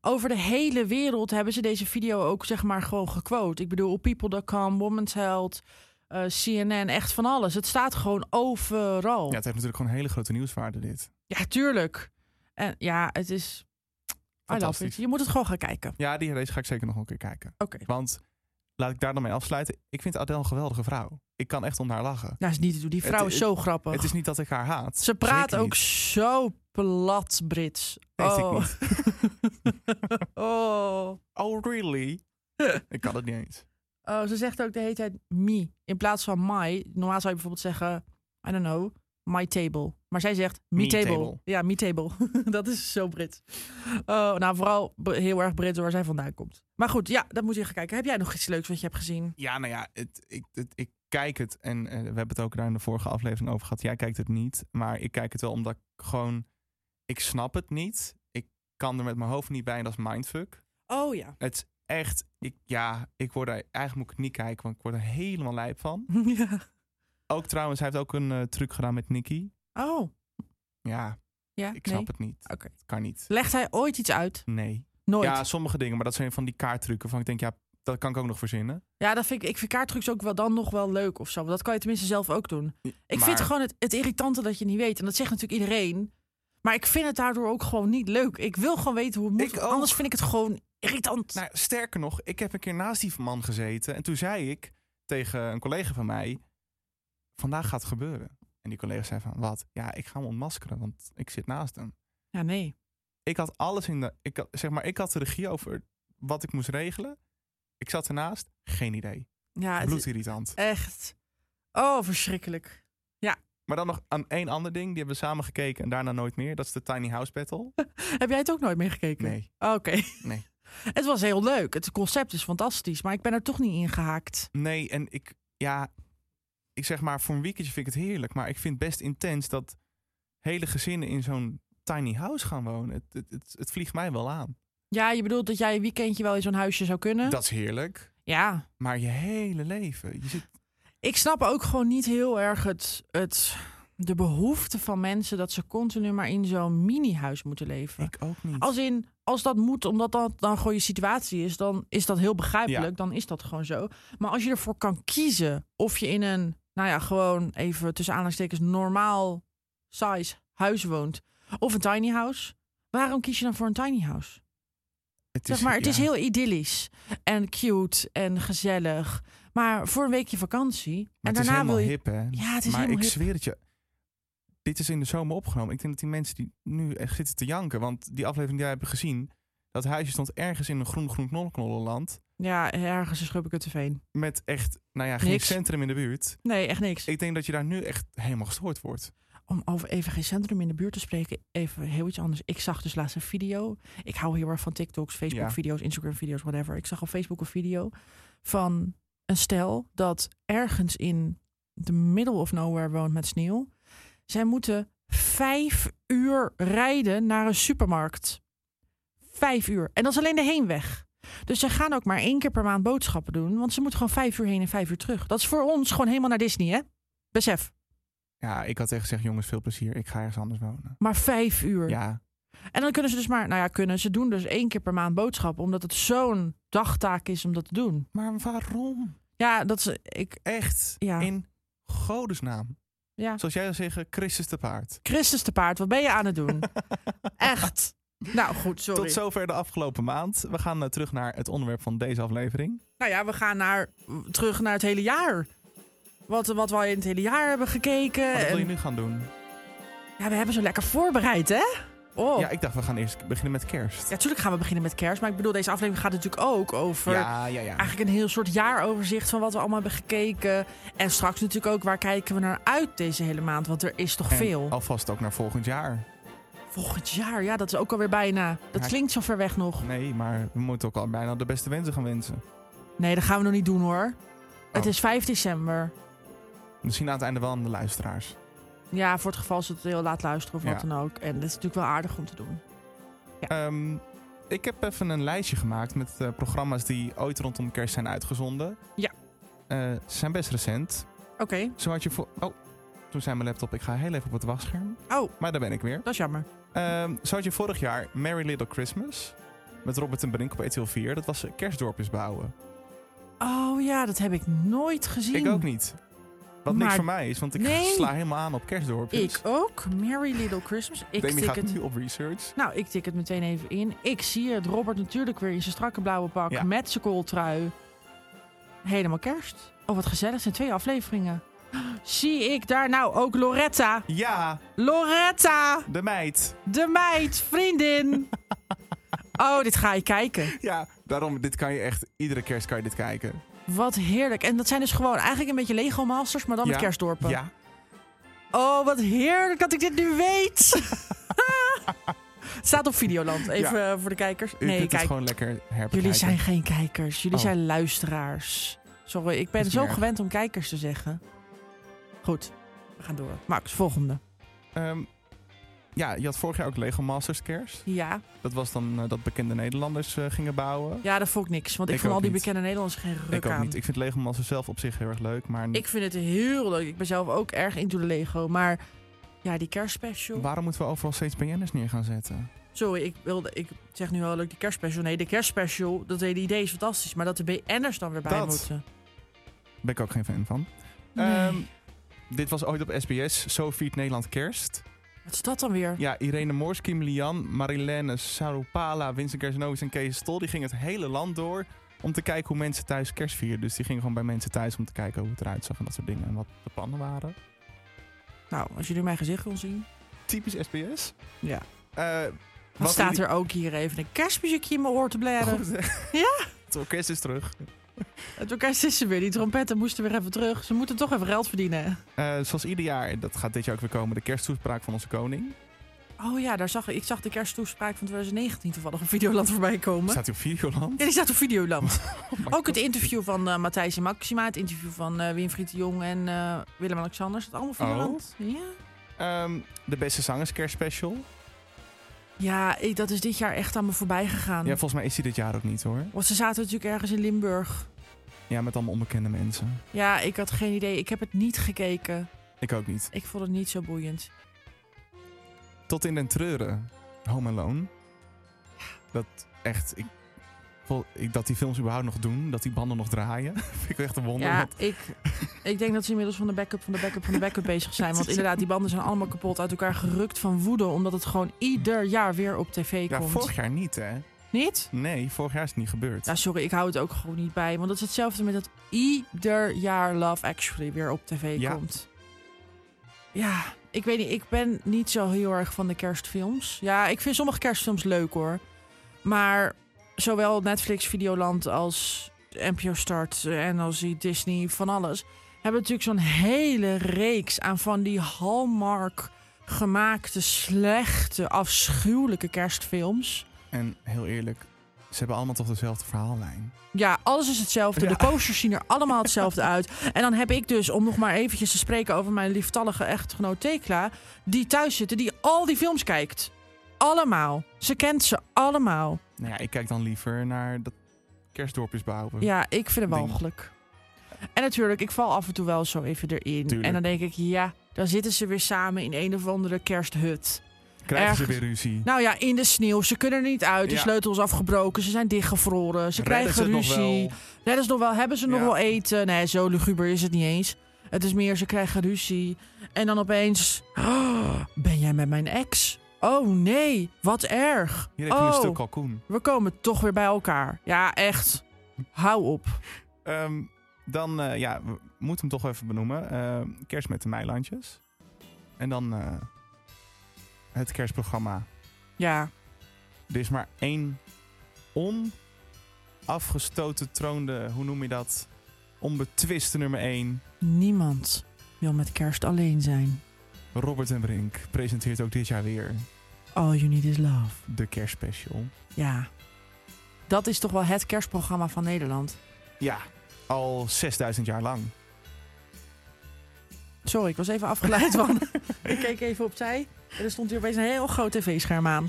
Speaker 2: over de hele wereld hebben ze deze video ook zeg maar gewoon gequote. Ik bedoel op people.com, Women's Health, eh, CNN, echt van alles. Het staat gewoon overal.
Speaker 1: Ja, het heeft natuurlijk gewoon een hele grote nieuwswaarde dit.
Speaker 2: Ja, tuurlijk. En ja, het is. I love it.
Speaker 1: Fantastisch.
Speaker 2: Je moet het gewoon gaan kijken.
Speaker 1: Ja, die race ga ik zeker nog een keer kijken.
Speaker 2: Oké.
Speaker 1: Want laat ik daar dan mee afsluiten. Ik vind Adele een geweldige vrouw. Ik kan echt om haar lachen.
Speaker 2: Nou, is niet te doen. Die vrouw
Speaker 1: Het-
Speaker 2: is zo grappig.
Speaker 1: Het is niet dat ik haar haat.
Speaker 2: Ze praat
Speaker 1: Zeker
Speaker 2: ook
Speaker 1: niet.
Speaker 2: zo plat Brits.
Speaker 1: Weet ik
Speaker 2: oh.
Speaker 1: niet.
Speaker 2: oh.
Speaker 1: Oh, really? ik kan het niet eens.
Speaker 2: Oh, ze zegt ook de hele tijd me in plaats van my. Normaal zou je bijvoorbeeld zeggen, I don't know, my table. Maar zij zegt me,
Speaker 1: Me
Speaker 2: table.
Speaker 1: table.
Speaker 2: Ja, me table. dat is zo Brit. Oh, nou, vooral b- heel erg Brits waar zij vandaan komt. Maar goed, ja, dat moet je gaan kijken. Heb jij nog iets leuks wat je hebt gezien?
Speaker 1: Ja, nou ja, het, ik, het- ik kijk het. En eh, we hebben het ook daar in de vorige aflevering over gehad. Jij kijkt het niet, maar ik kijk het wel omdat ik gewoon... Ik snap het niet. Ik kan er met mijn hoofd niet bij en dat is mindfuck.
Speaker 2: Oh ja.
Speaker 1: Het is echt... Ik, ja, ik word er... Eigenlijk moet ik het niet kijken, want ik word er helemaal lijp van.
Speaker 2: ja.
Speaker 1: Ook trouwens, hij heeft ook een eh, truc gedaan met Nicky.
Speaker 2: Oh,
Speaker 1: Ja,
Speaker 2: ja.
Speaker 1: ik snap
Speaker 2: nee.
Speaker 1: het niet.
Speaker 2: Oké.
Speaker 1: Het kan niet.
Speaker 2: Legt hij ooit iets uit?
Speaker 1: Nee.
Speaker 2: Nooit.
Speaker 1: Ja,
Speaker 2: Ja,
Speaker 1: sommige dingen, maar dat zijn van die kaarttrucken. Van ik denk, ja, dat kan ik ook nog verzinnen.
Speaker 2: dat vind ik, ik vind kaarttrucs ook wel dan nog wel leuk of zo. Dat kan je tenminste zelf ook doen. Ik vind
Speaker 1: Maar-
Speaker 2: gewoon het, het irritante dat je niet weet. En dat zegt natuurlijk iedereen. Maar ik vind het daardoor ook gewoon niet leuk. Ik wil gewoon weten hoe het moet.
Speaker 1: Ik ook.
Speaker 2: Anders vind ik het gewoon irritant.
Speaker 1: Nou, sterker nog, ik heb een keer naast die man gezeten. En toen zei ik tegen een collega van mij: Vandaag gaat het gebeuren. En die collega zei: van, Wat? Ja, ik ga hem ontmaskeren, want ik zit naast hem.
Speaker 2: Ja, nee.
Speaker 1: Ik had alles in de. Ik had, zeg maar, ik had de regie over wat ik moest regelen. Ik zat ernaast, geen idee.
Speaker 2: Ja, Ah, het is
Speaker 1: Bloedirritant.
Speaker 2: echt... Oh, verschrikkelijk.
Speaker 1: Maar dan nog aan één ander ding, die hebben we samen gekeken en daarna nooit meer. Dat is de Tiny House Battle.
Speaker 2: Heb jij het ook nooit meer gekeken? Oh,
Speaker 1: Nee.
Speaker 2: Oké.
Speaker 1: Nee.
Speaker 2: Het was heel leuk. Het concept is fantastisch. Maar ik ben er toch niet in gehaakt.
Speaker 1: Nee, en ik, ja, ik zeg maar, voor een weekendje vind ik het heerlijk. Maar ik vind het best intens dat hele gezinnen in zo'n tiny house gaan wonen. Het, het, het, het vliegt mij wel aan.
Speaker 2: Ja, je bedoelt dat jij een weekendje wel in zo'n huisje zou kunnen?
Speaker 1: Dat is heerlijk.
Speaker 2: Ja.
Speaker 1: Maar je hele leven. Je zit,
Speaker 2: Ik snap ook gewoon niet heel erg het, het, de behoefte van mensen dat ze continu maar in zo'n mini-huis moeten leven.
Speaker 1: ik ook niet.
Speaker 2: Als in, als dat moet, omdat dat dan gewoon je situatie is, dan is dat heel begrijpelijk.
Speaker 1: Ja.
Speaker 2: Dan is dat gewoon zo. Maar als je ervoor kan kiezen of je in een, nou ja, gewoon even tussen aanhalingstekens normaal size huis woont of een tiny house, waarom kies je dan voor een tiny house?
Speaker 1: het
Speaker 2: Zeg maar, het is
Speaker 1: ja.
Speaker 2: heel idyllisch en cute en gezellig. Maar voor een weekje vakantie.
Speaker 1: Maar het
Speaker 2: en
Speaker 1: is
Speaker 2: daarna wil
Speaker 1: helemaal
Speaker 2: je
Speaker 1: hip, hè?
Speaker 2: ja, het is
Speaker 1: maar ik
Speaker 2: helemaal hip.
Speaker 1: zweer het je. Dit is in de zomer opgenomen. Ik denk dat die mensen die nu echt zitten te janken, want die aflevering die jij hebt gezien, dat huisje stond ergens in een groen-groen knollennollenland
Speaker 2: Ja, ergens in Schubbekuttenveen.
Speaker 1: met echt, nou ja, geen
Speaker 2: Niks.
Speaker 1: centrum in de buurt.
Speaker 2: Nee, echt niks.
Speaker 1: Ik denk dat je daar nu echt helemaal gestoord wordt.
Speaker 2: Om over even geen centrum in de buurt te spreken, even heel iets anders. Ik zag dus laatst een video. Ik hou heel erg van TikToks, Facebook-video's, Instagram-video's, whatever. Ik zag op Facebook een video van een stel dat ergens in de middle of nowhere woont met sneeuw. Zij moeten vijf uur rijden naar een supermarkt. Vijf uur. En dat is alleen de heenweg. Dus ze gaan ook maar één keer per maand boodschappen doen. Want ze moeten gewoon vijf uur heen en vijf uur terug. Dat is voor ons gewoon helemaal naar Disney, hè? Besef.
Speaker 1: Ja, ik had echt gezegd, jongens, veel plezier. Ik ga ergens anders wonen.
Speaker 2: Maar vijf uur.
Speaker 1: Ja,
Speaker 2: En dan kunnen ze dus maar, nou ja, kunnen ze doen dus één keer per maand boodschappen, omdat het zo'n dagtaak is om dat te doen.
Speaker 1: maar waarom?
Speaker 2: Ja, dat ze, ik,
Speaker 1: Echt?
Speaker 2: Ja.
Speaker 1: In godesnaam.
Speaker 2: ja.
Speaker 1: Zoals jij zou zeggen, Christus te paard.
Speaker 2: Christus te paard, wat ben je aan het doen? Echt. Nou goed, sorry.
Speaker 1: Tot zover de afgelopen maand. We gaan eh, terug naar het onderwerp van deze aflevering.
Speaker 2: Nou ja, we gaan naar, terug naar het hele jaar. Wat, wat we al in het hele jaar hebben gekeken.
Speaker 1: Wat Oh, wil je
Speaker 2: En-
Speaker 1: nu gaan doen?
Speaker 2: Ja, we hebben zo lekker voorbereid, hè? Oh.
Speaker 1: Ja,
Speaker 2: Ja,
Speaker 1: ik dacht, we gaan eerst beginnen met kerst.
Speaker 2: natuurlijk gaan we beginnen met kerst, maar ik bedoel, deze aflevering gaat natuurlijk ook over...
Speaker 1: Ja, ja, ja.
Speaker 2: Eigenlijk een heel soort jaaroverzicht van wat we allemaal hebben gekeken. En straks natuurlijk ook waar kijken we naar uit deze hele maand. Want er is toch
Speaker 1: En Oh.
Speaker 2: veel.
Speaker 1: alvast ook naar volgend jaar.
Speaker 2: Volgend jaar, ja, dat is ook alweer bijna. Dat
Speaker 1: Ja.
Speaker 2: klinkt zo ver weg nog.
Speaker 1: Nee, maar we moeten ook al bijna de beste wensen gaan wensen.
Speaker 2: Nee, dat gaan we nog niet doen hoor. Het
Speaker 1: Oh.
Speaker 2: is 5 december.
Speaker 1: Misschien aan het einde wel aan de luisteraars.
Speaker 2: Ja, voor het geval ze het heel laat luisteren of wat
Speaker 1: Ja.
Speaker 2: dan ook. En dat is natuurlijk wel aardig om te doen.
Speaker 1: Ehm, ik heb even een lijstje gemaakt met eh, programma's die ooit rondom kerst zijn uitgezonden.
Speaker 2: Ja.
Speaker 1: Eh, ze zijn best recent.
Speaker 2: Oké,
Speaker 1: Zo had je voor... Oh, toen zei mijn laptop. Ik ga heel even op het wasscherm.
Speaker 2: Oh.
Speaker 1: Maar daar ben ik weer.
Speaker 2: dat is jammer.
Speaker 1: Ehm, zo had je vorig jaar Merry Little Christmas. Met Robert en Brink op RTL 4. Dat was eh, kerstdorpjes bouwen.
Speaker 2: Oh ja, dat heb ik nooit gezien.
Speaker 1: Ik ook niet. Wat niks
Speaker 2: Maar-
Speaker 1: voor mij is, want ik
Speaker 2: Nee.
Speaker 1: sla helemaal aan op kerstdorpjes.
Speaker 2: Ik ook. Merry Little Christmas. Ik
Speaker 1: Demi
Speaker 2: tik
Speaker 1: gaat
Speaker 2: het.
Speaker 1: nu op research.
Speaker 2: Nou, ik tik het meteen even in. Ik zie het. Robert natuurlijk weer in zijn strakke blauwe pak
Speaker 1: Ja.
Speaker 2: met zijn kooltrui. Helemaal kerst. Oh, wat gezellig. Het zijn twee afleveringen. Zie ik daar nou ook Loretta?
Speaker 1: Ja,
Speaker 2: Loretta,
Speaker 1: de meid.
Speaker 2: de meid, vriendin. Oh, dit ga je kijken.
Speaker 1: Ja, daarom, dit kan je echt, iedere kerst kan je dit kijken.
Speaker 2: Wat heerlijk. En dat zijn dus gewoon eigenlijk een beetje Lego Masters, maar dan
Speaker 1: Ja.
Speaker 2: met kerstdorpen.
Speaker 1: Ja,
Speaker 2: Oh, wat heerlijk dat ik dit nu weet. Het staat op Videoland. Even eh, voor de kijkers.
Speaker 1: u
Speaker 2: Nee,
Speaker 1: kunt het
Speaker 2: kijk.
Speaker 1: gewoon lekker herbekijken.
Speaker 2: Jullie zijn geen kijkers. Jullie
Speaker 1: Oh.
Speaker 2: zijn luisteraars. Sorry, ik ben
Speaker 1: Is niet
Speaker 2: zo
Speaker 1: erg.
Speaker 2: gewend om kijkers te zeggen. Goed, we gaan door. Max, volgende.
Speaker 1: Ehm, ja, je had vorig jaar ook Lego Masters kerst.
Speaker 2: Ja,
Speaker 1: Dat was dan eh, dat bekende Nederlanders eh, gingen bouwen.
Speaker 2: ja dat vond ik niks. Want ik,
Speaker 1: Ik
Speaker 2: vond
Speaker 1: ook
Speaker 2: al die
Speaker 1: niet.
Speaker 2: bekende Nederlanders geen ruk
Speaker 1: ik ook
Speaker 2: aan.
Speaker 1: niet. Ik vind Lego Masters zelf op zich heel erg leuk. Maar
Speaker 2: Ik vind het heel leuk. Ik ben zelf ook erg into de Lego. Maar ja, die kerstspecial.
Speaker 1: waarom moeten we overal steeds BN'ers neer gaan zetten?
Speaker 2: Sorry, ik, wilde, ik zeg nu wel leuk die kerstspecial. Nee, de kerstspecial, dat hele idee is fantastisch. Maar dat de BN'ers dan weer bij
Speaker 1: Dat.
Speaker 2: moeten.
Speaker 1: Ben ik ook geen fan van.
Speaker 2: Nee.
Speaker 1: Ehm, dit was ooit op SBS. Zo viert Nederland kerst.
Speaker 2: Wat is dat dan weer?
Speaker 1: Ja, Irene Moors, Kim Lian, Marilene Sarupala, Vincent Kersnovis en Kees Stol... die gingen het hele land door om te kijken hoe mensen thuis kerst vieren. Dus die gingen gewoon bij mensen thuis om te kijken hoe het eruit zag... en dat soort dingen en wat de plannen waren.
Speaker 2: Nou, als jullie mijn gezicht wil zien.
Speaker 1: Typisch SBS.
Speaker 2: Ja.
Speaker 1: Eh,
Speaker 2: Wat, staat er ook hier even? Een kerstmuziekje in mijn oor te blaren.
Speaker 1: Oh, ja. Het orkest is terug.
Speaker 2: Het orkest is er weer. Die trompetten moesten weer even terug. Ze moeten toch even geld verdienen.
Speaker 1: Eh, zoals ieder jaar, dat gaat dit jaar ook weer komen... de kersttoespraak van onze koning.
Speaker 2: Oh ja, daar zag, ik- ik zag de kersttoespraak van 2019 toevallig op Videoland voorbij komen.
Speaker 1: Staat hij op Videoland?
Speaker 2: Ja, die staat op Videoland.
Speaker 1: Oh my
Speaker 2: Ook het interview van eh Matthijs en Maxima. Het interview van eh Winfried de Jong en eh, Willem-Alexander. Staat allemaal op
Speaker 1: Oh.
Speaker 2: Videoland. Ja,
Speaker 1: Ehm, de beste zangers kerstspecial.
Speaker 2: ja ik- dat is dit jaar echt aan me voorbij gegaan.
Speaker 1: Ja, volgens mij is hij dit jaar ook niet hoor.
Speaker 2: Want ze zaten natuurlijk ergens in Limburg.
Speaker 1: Ja, met allemaal onbekende mensen.
Speaker 2: Ja, ik had geen idee. Ik heb het niet gekeken.
Speaker 1: Ik ook niet.
Speaker 2: Ik vond het niet zo boeiend.
Speaker 1: Tot in den treuren. Home Alone. Dat echt... Ik, vol- ik- dat die films überhaupt nog doen. Dat die banden nog draaien. Vind ik echt een wonder.
Speaker 2: Ja,
Speaker 1: want
Speaker 2: ik, ik denk dat ze inmiddels van de backup van de backup van de backup bezig zijn. Want inderdaad, die banden zijn allemaal kapot uit elkaar gerukt van woede. Omdat het gewoon ieder jaar weer op tv
Speaker 1: ja
Speaker 2: komt.
Speaker 1: vorig jaar niet hè.
Speaker 2: Niet?
Speaker 1: Nee, vorig jaar is het niet gebeurd.
Speaker 2: Ja, sorry, ik hou het ook gewoon niet bij. Want dat is hetzelfde met dat ieder jaar Love Actually weer op tv
Speaker 1: Ja.
Speaker 2: komt. Ja, ik weet niet. Ik ben niet zo heel erg van de kerstfilms. Ja, ik vind sommige kerstfilms leuk hoor. Maar zowel Netflix, Videoland als NPO Start en als die Disney, van alles... hebben natuurlijk zo'n hele reeks aan van die Hallmark gemaakte, slechte, afschuwelijke kerstfilms...
Speaker 1: En heel eerlijk, ze hebben allemaal toch dezelfde verhaallijn.
Speaker 2: Ja, alles is hetzelfde.
Speaker 1: Ja.
Speaker 2: De posters zien er allemaal hetzelfde uit. En dan heb ik dus, om nog maar eventjes te spreken over mijn lieftallige echtgenoot Tekla... die thuis zitten, die al die films kijkt. Allemaal. Ze kent ze allemaal.
Speaker 1: Nou ja, ik kijk dan liever naar dat kerstdorpjes bouwen.
Speaker 2: Ja, ik vind het
Speaker 1: Hm. Ding.
Speaker 2: walgelijk. En natuurlijk, ik val af en toe wel zo even erin.
Speaker 1: Tuurlijk.
Speaker 2: En dan denk ik, ja, dan zitten ze weer samen in een of andere kersthut.
Speaker 1: Krijgen ze
Speaker 2: ergens-
Speaker 1: weer ruzie?
Speaker 2: Nou ja, in de sneeuw. Ze kunnen er niet uit. Die
Speaker 1: Ja.
Speaker 2: sleutel is afgebroken. Ze zijn dichtgevroren. Ze
Speaker 1: Redden
Speaker 2: krijgen
Speaker 1: ze het
Speaker 2: ruzie.
Speaker 1: nog wel?
Speaker 2: Redden ze nog wel? Hebben ze nog
Speaker 1: Ja.
Speaker 2: wel eten? Nee, zo luguber is het niet eens. Het is meer, ze krijgen ruzie. En dan opeens... "Oh, ben jij met mijn ex? Oh nee, wat erg.
Speaker 1: Hier heb je een
Speaker 2: Oh,
Speaker 1: stuk kalkoen.
Speaker 2: we komen toch weer bij elkaar. Ja, echt. Hou op.
Speaker 1: Ehm, dan, eh, ja, we moeten hem toch even benoemen. Ehm, kerst met de Meilandjes. En dan eh, het kerstprogramma.
Speaker 2: Ja,
Speaker 1: Er is maar één onafgestoten troonde, hoe noem je dat? Onbetwiste nummer één.
Speaker 2: niemand wil met kerst alleen zijn.
Speaker 1: Robert en Brink presenteert ook dit jaar weer.
Speaker 2: All You Need Is Love.
Speaker 1: De kerstspecial.
Speaker 2: Ja. Dat is toch wel het kerstprogramma van Nederland.
Speaker 1: Ja, al 6000 jaar lang.
Speaker 2: Sorry, ik was even afgeleid, want ik keek even opzij. En er stond hier opeens een heel groot tv-scherm aan.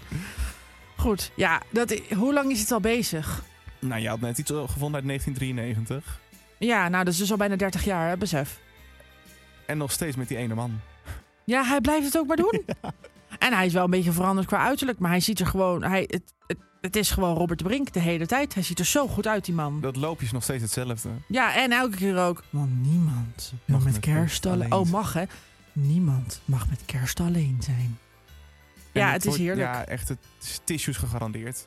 Speaker 2: Goed, ja, dat, i- hoe lang is het al bezig?
Speaker 1: Nou, je had net iets eh, gevonden uit 1993.
Speaker 2: Ja, nou, dat is dus al bijna 30 jaar, hè, besef.
Speaker 1: En nog steeds met die ene man.
Speaker 2: Ja, hij blijft het ook maar doen. En hij is wel een beetje veranderd qua uiterlijk, maar hij ziet er gewoon... Hij, het, het, het is gewoon Robert de Brink de hele tijd. Hij ziet er zo goed uit, die man.
Speaker 1: Dat loopje is nog steeds hetzelfde.
Speaker 2: Ja, en elke keer ook. Want niemand
Speaker 1: mag met kerst alleen
Speaker 2: Oh,
Speaker 1: zijn.
Speaker 2: mag hè? Niemand mag met kerst alleen zijn.
Speaker 1: En
Speaker 2: Ja, het is
Speaker 1: wordt-
Speaker 2: heerlijk. Ja.
Speaker 1: Ja, echt, het is tissues gegarandeerd.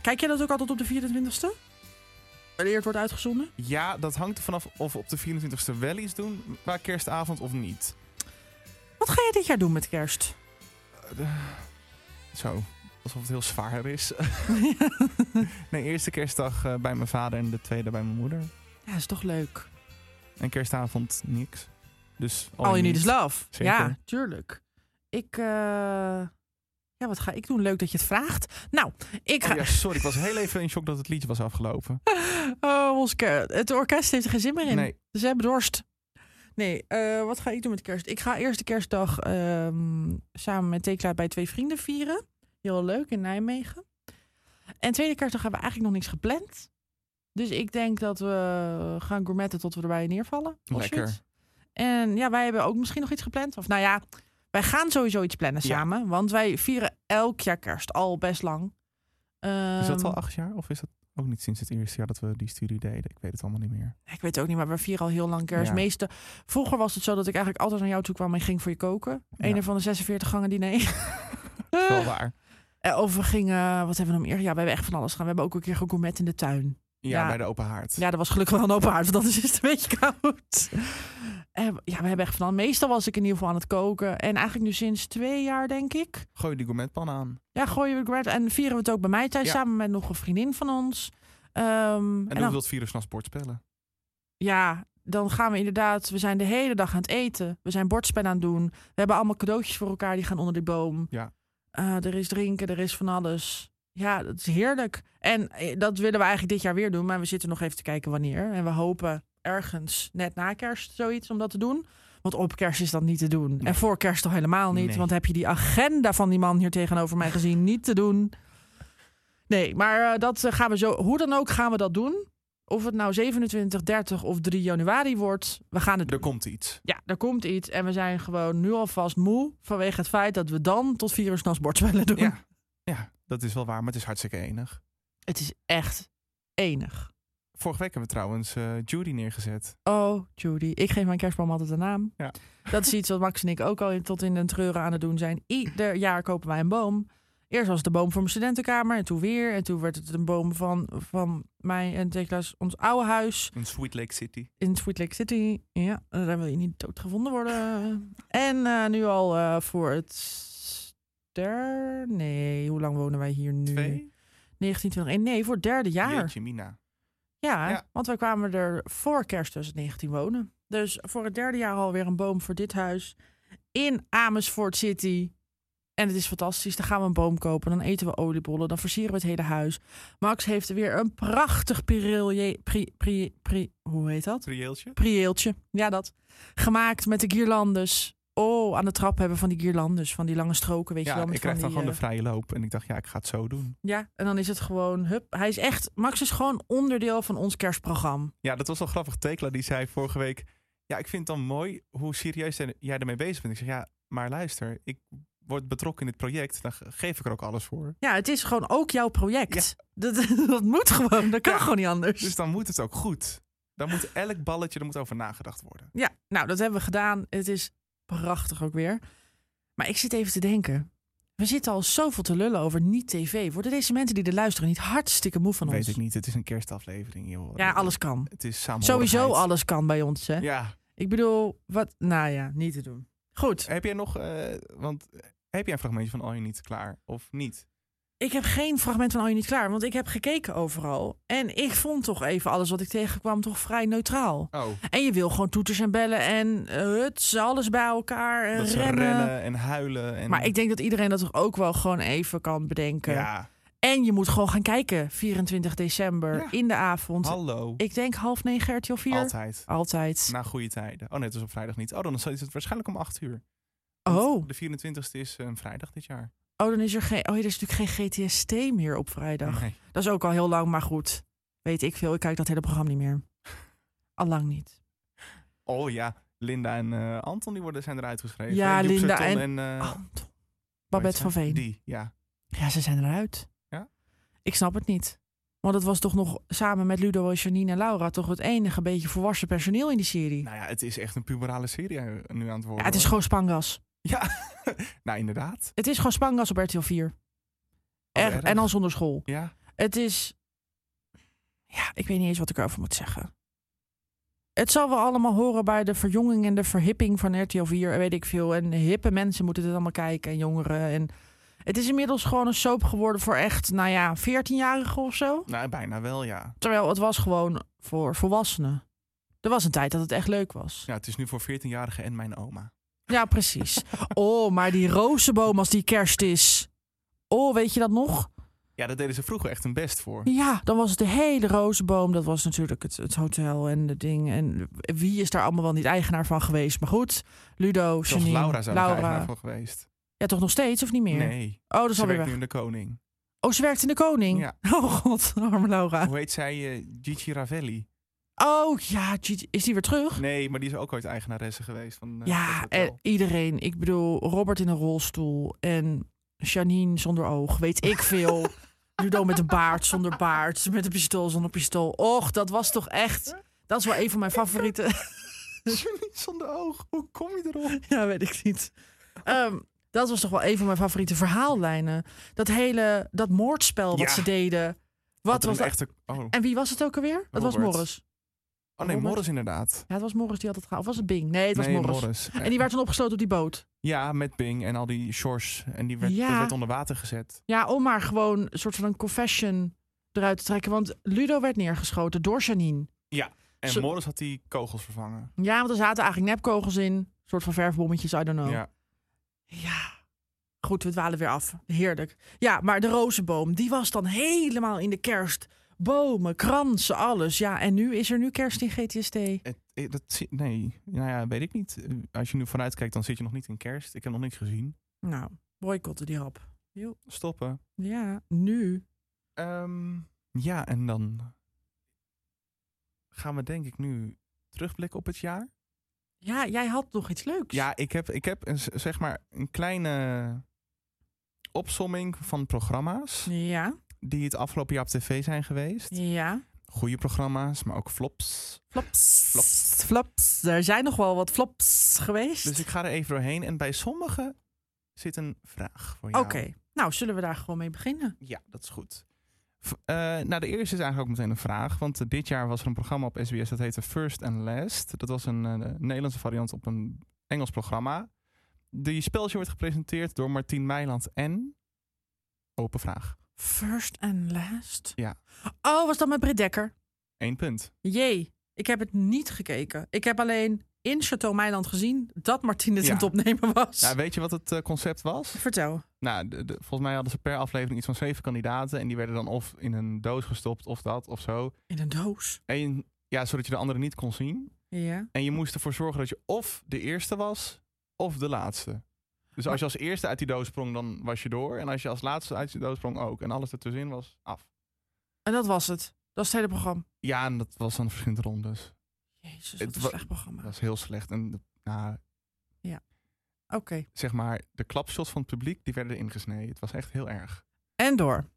Speaker 2: kijk jij dat ook altijd op de 24ste? Wanneer het wordt uitgezonden?
Speaker 1: Ja, dat hangt er vanaf of we op de 24e wel iets doen qua kerstavond of niet.
Speaker 2: Wat ga jij dit jaar doen met kerst?
Speaker 1: Eh, Zo, alsof het heel zwaar is. nee, eerste kerstdag eh, bij mijn vader en de tweede bij mijn moeder.
Speaker 2: Ja, is toch leuk.
Speaker 1: En kerstavond niks. Dus al
Speaker 2: Al Oh, je niet is love.
Speaker 1: Zeker.
Speaker 2: Ja, tuurlijk. Ik, eh, ja, wat ga ik doen? Leuk dat je het vraagt. Nou, ik ga.
Speaker 1: Oh ja, sorry, ik was heel even in shock dat het liedje was afgelopen.
Speaker 2: Oh, ons ke- het orkest heeft er geen zin meer in.
Speaker 1: Nee,
Speaker 2: Ze hebben dorst. Nee, eh, wat ga ik doen met kerst? Ik ga eerst de kerstdag ehm, samen met Tekla bij twee vrienden vieren. Heel leuk in Nijmegen. En tweede kerstdag hebben we eigenlijk nog niks gepland. Dus ik denk dat we gaan gourmetten tot we erbij neervallen. of
Speaker 1: Lekker.
Speaker 2: zoiets. En ja, wij hebben ook misschien nog iets gepland. Of nou ja, wij gaan sowieso iets plannen
Speaker 1: Ja.
Speaker 2: samen. Want wij vieren elk jaar kerst al best lang.
Speaker 1: is dat
Speaker 2: Ehm,
Speaker 1: al acht jaar? Of is dat ook niet sinds het eerste jaar dat we die studie deden? Ik weet het allemaal niet meer.
Speaker 2: Ik weet het ook niet, maar we vieren al heel lang kerst.
Speaker 1: Ja.
Speaker 2: Meeste, vroeger was het zo dat ik eigenlijk altijd naar jou toe kwam en ging voor je koken.
Speaker 1: Ja.
Speaker 2: Een van de 46 gangen diner.
Speaker 1: Wel waar.
Speaker 2: Eh, of we gingen, wat hebben we nog meer? Ja, we hebben echt van alles gedaan. We hebben ook een keer gegourmet in de tuin.
Speaker 1: Ja,
Speaker 2: Ja.
Speaker 1: bij de open haard.
Speaker 2: Ja, dat was gelukkig wel een open haard, want anders is het een beetje koud. Eh, ja, we hebben echt van alles. Meestal was ik in ieder geval aan het koken. En eigenlijk nu sinds twee jaar, denk ik.
Speaker 1: Gooi die gourmetpan aan.
Speaker 2: Ja, gooien we gourmet en vieren we het ook bij mij thuis
Speaker 1: Ja.
Speaker 2: samen met nog een vriendin van ons. Ehm,
Speaker 1: En, hoe wil het virus s'nachts bordspellen?
Speaker 2: ja, dan gaan we inderdaad. We zijn de hele dag aan het eten. We zijn bordspel aan het doen. We hebben allemaal cadeautjes voor elkaar. Die gaan onder die boom.
Speaker 1: Ja.
Speaker 2: Eh, er is drinken, er is van alles. Ja, dat is heerlijk. En eh, dat willen we eigenlijk dit jaar weer doen. Maar we zitten nog even te kijken wanneer. En we hopen ergens net na kerst zoiets om dat te doen. Want op kerst is dat niet te doen.
Speaker 1: Nee.
Speaker 2: En voor kerst al helemaal niet.
Speaker 1: Nee.
Speaker 2: Want heb je die agenda van die man hier tegenover mij gezien? Niet te doen. Nee, maar eh, dat eh, gaan we zo. Hoe dan ook gaan we dat doen. Of het nou 27, 30 of 3 januari wordt. We gaan het
Speaker 1: Er komt iets.
Speaker 2: ja, er komt iets en we zijn gewoon nu alvast moe vanwege het feit dat we dan tot vier uur s'nachts bordspellen doen.
Speaker 1: Ja. ja, dat is wel waar, maar het is hartstikke enig.
Speaker 2: Het is echt enig.
Speaker 1: Vorige week hebben we trouwens eh, Judy neergezet.
Speaker 2: Oh, Judy, ik geef mijn kerstboom altijd een naam.
Speaker 1: Ja.
Speaker 2: Dat is iets wat Max en ik ook al in- tot in den treuren aan het doen zijn. Ieder jaar kopen wij een boom. Eerst was het de boom voor mijn studentenkamer en toen weer. En toen werd het een boom van, van mij en Tekla's, ons oude huis.
Speaker 1: In Sweet Lake City.
Speaker 2: In Sweet Lake City. Ja, daar wil je niet dood gevonden worden. En eh, nu al eh, voor het ster... Nee, hoe lang wonen wij hier nu?
Speaker 1: Twee?
Speaker 2: 1921. Nee, voor het derde jaar.
Speaker 1: Jeetje, Mina.
Speaker 2: Ja,
Speaker 1: Ja.
Speaker 2: want wij kwamen er voor kerst 2019 wonen. Dus voor het derde jaar alweer een boom voor dit huis. In Amersfoort City. En het is fantastisch. Dan gaan we een boom kopen. Dan eten we oliebollen. Dan versieren we het hele huis. Max heeft weer een prachtig perilier... Pri, pri, pri, hoe heet dat?
Speaker 1: Prieeltje?
Speaker 2: prieeltje. Ja, dat. Gemaakt met de guirlandes. Oh, aan de trap hebben van die guirlandes. Van die lange stroken, weet je
Speaker 1: Ja,
Speaker 2: wel. met
Speaker 1: ik krijg
Speaker 2: van
Speaker 1: dan
Speaker 2: die,
Speaker 1: gewoon de
Speaker 2: eh,
Speaker 1: vrije loop. En ik dacht, ja, ik ga het zo doen.
Speaker 2: Ja, en dan is het gewoon... Hup, hij is echt... Max is gewoon onderdeel van ons kerstprogramma.
Speaker 1: Ja, dat was wel grappig. Tekla die zei vorige week... Ja, ik vind het dan mooi hoe serieus jij ermee bezig bent. Ik zeg, ja, maar luister. Ik word betrokken in dit project. Dan ge- geef ik er ook alles voor.
Speaker 2: Ja, het is gewoon ook jouw project. Dat, dat moet gewoon. Dat kan
Speaker 1: Ja.
Speaker 2: gewoon niet anders.
Speaker 1: Dus dan moet het ook goed. Dan moet elk balletje, er moet over nagedacht worden.
Speaker 2: Ja, nou, dat hebben we gedaan. Het is prachtig ook weer. Maar ik zit even te denken. We zitten al zoveel te lullen over niet-tv. Worden deze mensen die er luisteren niet hartstikke moe van
Speaker 1: Weet
Speaker 2: ons?
Speaker 1: ik niet, het is een kerstaflevering, joh.
Speaker 2: Ja, alles kan.
Speaker 1: Het is saamhorigheid.
Speaker 2: Sowieso alles kan bij ons, hè?
Speaker 1: Ja,
Speaker 2: Ik bedoel, wat? Nou ja, niet te doen. Goed.
Speaker 1: Heb jij nog, eh, want eh, heb jij een fragmentje van Al Je Niet klaar of niet?
Speaker 2: ik heb geen fragment van Al je niet klaar, want ik heb gekeken overal. En ik vond toch even alles wat ik tegenkwam toch vrij neutraal.
Speaker 1: Oh.
Speaker 2: En je wil gewoon toeters en bellen en eh, huts, alles bij elkaar en
Speaker 1: Dat ze
Speaker 2: rennen.
Speaker 1: rennen en huilen. En,
Speaker 2: Maar ik eh, denk dat iedereen dat toch ook wel gewoon even kan bedenken.
Speaker 1: Ja,
Speaker 2: En je moet gewoon gaan kijken, 24 december
Speaker 1: Ja.
Speaker 2: in de avond.
Speaker 1: hallo.
Speaker 2: ik denk half negen RTL 4.
Speaker 1: Altijd.
Speaker 2: Altijd.
Speaker 1: Na goede tijden. Oh nee, het is op vrijdag niet. Oh, dan is het waarschijnlijk om 8 uur.
Speaker 2: oh.
Speaker 1: De 24 e is eh, een vrijdag dit jaar.
Speaker 2: oh, dan is er geen. Oh, er is natuurlijk geen GTST meer op vrijdag.
Speaker 1: Nee.
Speaker 2: Dat is ook al heel lang, maar goed. Weet ik veel. Ik kijk dat hele programma niet meer. Allang niet.
Speaker 1: Oh ja, Linda en eh, Anton die worden, zijn eruit geschreven.
Speaker 2: Ja,
Speaker 1: Joep
Speaker 2: Linda
Speaker 1: Sarton en
Speaker 2: en-
Speaker 1: eh, hoe
Speaker 2: Anton.
Speaker 1: heet
Speaker 2: Babette
Speaker 1: ze?
Speaker 2: van Veen.
Speaker 1: Die, ja.
Speaker 2: Ja, ze zijn eruit.
Speaker 1: Ja?
Speaker 2: Ik snap het niet. Want het was toch nog samen met Ludo en Janine en Laura toch het enige beetje volwassen personeel in die serie.
Speaker 1: Nou ja, het is echt een puberale serie eh, nu aan het worden.
Speaker 2: ja, het is
Speaker 1: hoor.
Speaker 2: gewoon Spangas.
Speaker 1: Nou, inderdaad.
Speaker 2: Het is gewoon Spangas op RTL 4.
Speaker 1: Oh,
Speaker 2: Echt,
Speaker 1: erg.
Speaker 2: en dan zonder school.
Speaker 1: Ja,
Speaker 2: Het is. Ja, ik weet niet eens wat ik erover moet zeggen. Het zal wel allemaal horen bij de verjonging en de verhipping van RTL 4 en weet ik veel. En hippe mensen moeten dit allemaal kijken en jongeren. En het is inmiddels gewoon een soap geworden voor echt, nou ja, 14-jarigen of zo.
Speaker 1: nou, bijna wel, ja.
Speaker 2: Terwijl het was gewoon voor volwassenen. Er was een tijd dat het echt leuk was.
Speaker 1: ja. Het is nu voor 14-jarigen en mijn oma.
Speaker 2: Ja, precies. Oh, maar die rozenboom als die kerst is. Oh, weet je dat nog?
Speaker 1: Ja, daar deden ze vroeger echt hun best voor.
Speaker 2: Ja, dan was het de hele rozenboom. Dat was natuurlijk het, het hotel en de ding. En wie is daar allemaal wel niet eigenaar van geweest? Maar goed, Ludo,
Speaker 1: Zelfs
Speaker 2: Janine,
Speaker 1: Laura zou er
Speaker 2: Laura.
Speaker 1: eigenaar van geweest.
Speaker 2: Ja, toch nog steeds of niet meer?
Speaker 1: Nee,
Speaker 2: Oh, dat is
Speaker 1: ze
Speaker 2: alweer
Speaker 1: werkt nu
Speaker 2: weg.
Speaker 1: in de koning.
Speaker 2: Oh, ze werkt in de Koning.
Speaker 1: Ja.
Speaker 2: Oh god, arme Laura.
Speaker 1: Hoe heet zij? eh, Gigi Ravelli.
Speaker 2: Oh ja, Gigi- is die weer terug?
Speaker 1: Nee, maar die is ook ooit eigenaresse geweest van eh, dat
Speaker 2: ja,
Speaker 1: hotel.
Speaker 2: en iedereen. Ik bedoel, Robert in een rolstoel en Janine zonder oog. Weet ik veel. Ludo met een baard zonder baard. Met een pistool zonder pistool. Och, dat was toch echt... Dat is wel een van mijn favoriete...
Speaker 1: Jullie zonder oog, hoe kom je erop?
Speaker 2: Ja, weet ik niet. Ehm, dat was toch wel een van mijn favoriete verhaallijnen. Dat hele, dat moordspel wat
Speaker 1: Ja.
Speaker 2: ze deden. Wat was dat?
Speaker 1: Echte... Oh.
Speaker 2: En wie was het ook alweer? Het was
Speaker 1: Robert.
Speaker 2: Morris.
Speaker 1: oh nee,
Speaker 2: Robert?
Speaker 1: Morris inderdaad.
Speaker 2: Ja, het was Morris die had het gehaald. Of was het Bing? Nee, het was
Speaker 1: nee,
Speaker 2: Morris. En die werd dan opgesloten op die boot.
Speaker 1: Ja, met Bing en al die shores. En die werd,
Speaker 2: Ja.
Speaker 1: dat werd onder water gezet.
Speaker 2: Ja, om maar gewoon een soort van een confession eruit te trekken. Want Ludo werd neergeschoten door Janine.
Speaker 1: En
Speaker 2: Zo-
Speaker 1: Morris had die kogels vervangen.
Speaker 2: Ja, want er zaten eigenlijk nepkogels in. Een soort van verfbommetjes, I don't know.
Speaker 1: Ja.
Speaker 2: Ja. Goed, we dwalen weer af. Heerlijk. Ja, maar de rozenboom, die was dan helemaal in de kerst. Bomen, kransen, alles. Ja, en nu is er nu kerst in GTST.
Speaker 1: Het- eh, dat, zi- nee, nou ja, weet ik niet. Eh, Als je nu vooruit kijkt, dan zit je nog niet in kerst. Ik heb nog niks gezien.
Speaker 2: Nou, boycotten die hap.
Speaker 1: Stoppen.
Speaker 2: Ja, nu.
Speaker 1: Ehm, ja, en dan gaan we denk ik nu terugblikken op het jaar.
Speaker 2: Ja, jij had nog iets leuks.
Speaker 1: Ja, ik heb, ik heb een, z- zeg maar een kleine opsomming van programma's
Speaker 2: Ja,
Speaker 1: die het afgelopen jaar op tv zijn geweest.
Speaker 2: ja.
Speaker 1: Goede programma's, maar ook flops.
Speaker 2: Flops.
Speaker 1: Flops.
Speaker 2: Flops. Er zijn nog wel wat flops geweest.
Speaker 1: Dus ik ga er even doorheen en bij sommige zit een vraag voor
Speaker 2: Oké,
Speaker 1: jou.
Speaker 2: nou zullen we daar gewoon mee beginnen?
Speaker 1: Ja, dat is goed. V- eh, nou, de eerste is eigenlijk ook meteen een vraag. Want eh, dit jaar was er een programma op SBS dat heette First and Last. Dat was een eh, Nederlandse variant op een Engels programma. Die spelshow werd gepresenteerd door Martien Meiland en... Open vraag.
Speaker 2: First and last.
Speaker 1: Ja.
Speaker 2: Oh, was dat met Britt Dekker?
Speaker 1: Eén punt.
Speaker 2: Jee, ik heb het niet gekeken. Ik heb alleen in Chateau Meiland gezien dat Martine het
Speaker 1: Ja.
Speaker 2: aan het opnemen was.
Speaker 1: Nou, weet je wat het eh, concept was?
Speaker 2: Vertel.
Speaker 1: Nou, de- de- volgens mij hadden ze per aflevering iets van zeven kandidaten. En die werden dan of in een doos gestopt of dat of zo.
Speaker 2: In een doos.
Speaker 1: Eén, ja, zodat je de andere niet kon zien.
Speaker 2: Ja.
Speaker 1: En je moest ervoor zorgen dat je of de eerste was of de laatste. Dus als je als eerste uit die doos sprong, dan was je door. En als je als laatste uit die doos sprong, ook. En alles ertussenin was af.
Speaker 2: En dat was het. Dat is het hele programma.
Speaker 1: Ja, en dat was dan verschillende rondes. Het
Speaker 2: Jezus, wat een
Speaker 1: wa-
Speaker 2: slecht programma.
Speaker 1: Dat was heel slecht. En de- nou,
Speaker 2: Oké.
Speaker 1: zeg maar, de klapshots van het publiek, die werden erin gesneden. Het was echt heel erg.
Speaker 2: En door.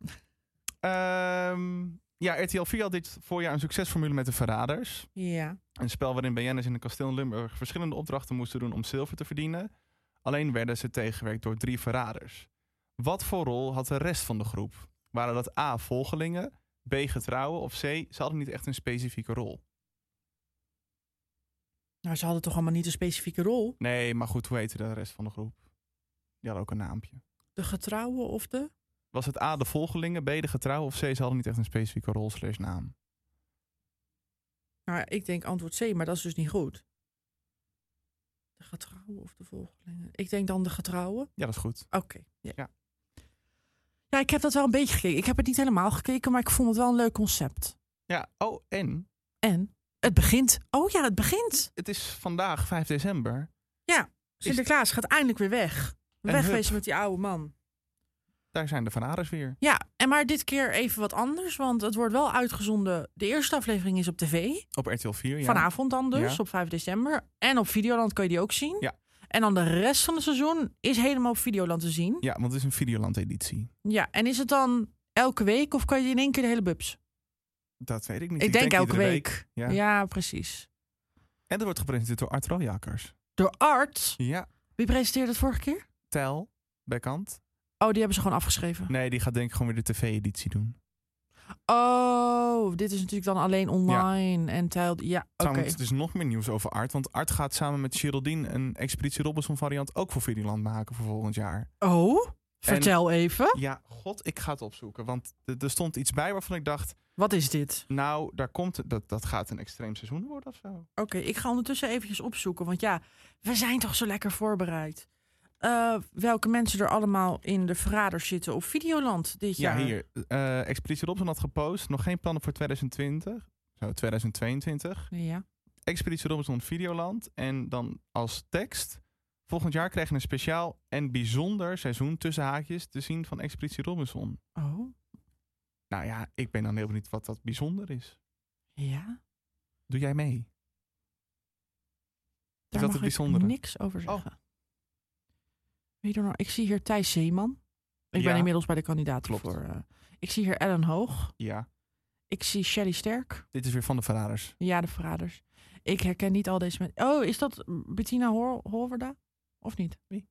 Speaker 1: Ehm, ja, RTL 4 had dit voorjaar een succesformule met de Verraders.
Speaker 2: Ja.
Speaker 1: Een spel waarin BN'ers in een kasteel in Limburg verschillende opdrachten moesten doen om zilver te verdienen. Alleen werden ze tegengewerkt door drie verraders. Wat voor rol had de rest van de groep? Waren dat A. volgelingen, B. getrouwen of C. Ze hadden niet echt een specifieke rol.
Speaker 2: Nou, ze hadden toch allemaal niet een specifieke rol?
Speaker 1: Nee, maar goed, hoe heette de rest van de groep? Die hadden ook een naampje.
Speaker 2: De getrouwen of de...
Speaker 1: Was het A, de volgelingen, B, de getrouwen of C, ze hadden niet echt een specifieke rol slash naam?
Speaker 2: Nou, ik denk antwoord C, maar dat is dus niet goed. De getrouwen of de volgelingen? Ik denk dan de getrouwen.
Speaker 1: Ja, dat is goed.
Speaker 2: Oké. Ja.
Speaker 1: Ja.
Speaker 2: ja. ik heb dat wel een beetje gekeken. Ik heb het niet helemaal gekeken, maar ik vond het wel een leuk concept.
Speaker 1: Ja, oh, en
Speaker 2: En het begint. Oh ja, het begint.
Speaker 1: het is vandaag 5 december.
Speaker 2: Sinterklaas gaat eindelijk weer weg.
Speaker 1: En
Speaker 2: Wegwezen
Speaker 1: hup.
Speaker 2: met die oude man.
Speaker 1: Daar zijn de Van Ares weer.
Speaker 2: Ja, en maar dit keer even wat anders, want het wordt wel uitgezonden. De eerste aflevering is op tv.
Speaker 1: Op RTL 4, ja.
Speaker 2: Vanavond dan dus,
Speaker 1: Ja.
Speaker 2: op 5 december. En op Videoland kan je die ook zien.
Speaker 1: Ja.
Speaker 2: En dan de rest van het seizoen is helemaal op Videoland te zien.
Speaker 1: Ja, want het is een Videoland-editie.
Speaker 2: Ja, en is het dan elke week of kan je in één keer de hele bubs?
Speaker 1: Dat weet ik niet.
Speaker 2: Ik, denk, elke
Speaker 1: iedere
Speaker 2: week.
Speaker 1: Ja.
Speaker 2: Ja. precies.
Speaker 1: En er wordt gepresenteerd door Art Rojakers.
Speaker 2: Door Art.
Speaker 1: Ja.
Speaker 2: Wie presenteerde het vorige keer?
Speaker 1: Tel, Bekkant.
Speaker 2: Oh, die hebben ze gewoon afgeschreven.
Speaker 1: Nee, die gaat denk ik gewoon weer de tv-editie doen.
Speaker 2: Oh, dit is natuurlijk dan alleen online en telt. Ja, oké.
Speaker 1: Trouwens, het is nog meer nieuws over Art. Want Art gaat samen met Geraldine een Expeditie Robinson variant ook voor Videoland maken voor volgend jaar.
Speaker 2: Oh, vertel even.
Speaker 1: Ja, god, ik ga het opzoeken. Want d- er stond iets bij waarvan ik dacht,
Speaker 2: Wat is dit?
Speaker 1: nou, daar komt, dat, dat gaat een extreem seizoen worden of zo.
Speaker 2: Oké, ik ga ondertussen eventjes opzoeken. Want ja, we zijn toch zo lekker voorbereid. Eh, welke mensen er allemaal in de verraders zitten op Videoland dit
Speaker 1: Ja,
Speaker 2: jaar.
Speaker 1: hier. eh Expeditie Robson had gepost. Nog geen plannen voor 2020. Zo, 2022.
Speaker 2: Ja.
Speaker 1: Expeditie Robinson Videoland. En dan als tekst. Volgend jaar krijgen we een speciaal en bijzonder seizoen tussen haakjes te zien van Expeditie Robinson.
Speaker 2: Oh,
Speaker 1: Nou ja, ik ben dan heel benieuwd wat dat bijzonder is.
Speaker 2: ja.
Speaker 1: Doe jij mee? dat
Speaker 2: Daar mag
Speaker 1: het
Speaker 2: ik
Speaker 1: bijzondere? Oh.
Speaker 2: niks over zeggen. Wie er nou? Ik zie hier Thijs Zeeman. Ik
Speaker 1: Ja.
Speaker 2: ben inmiddels bij de kandidaat
Speaker 1: Klopt.
Speaker 2: voor. eh, ik zie hier Ellen Hoog.
Speaker 1: Ja,
Speaker 2: Ik zie Shelly Sterk.
Speaker 1: dit is weer van de Verraders.
Speaker 2: Ja, de verraders. Ik herken niet al deze mensen. Oh, is dat Bettina Hor Horverda? Of niet?
Speaker 1: Wie?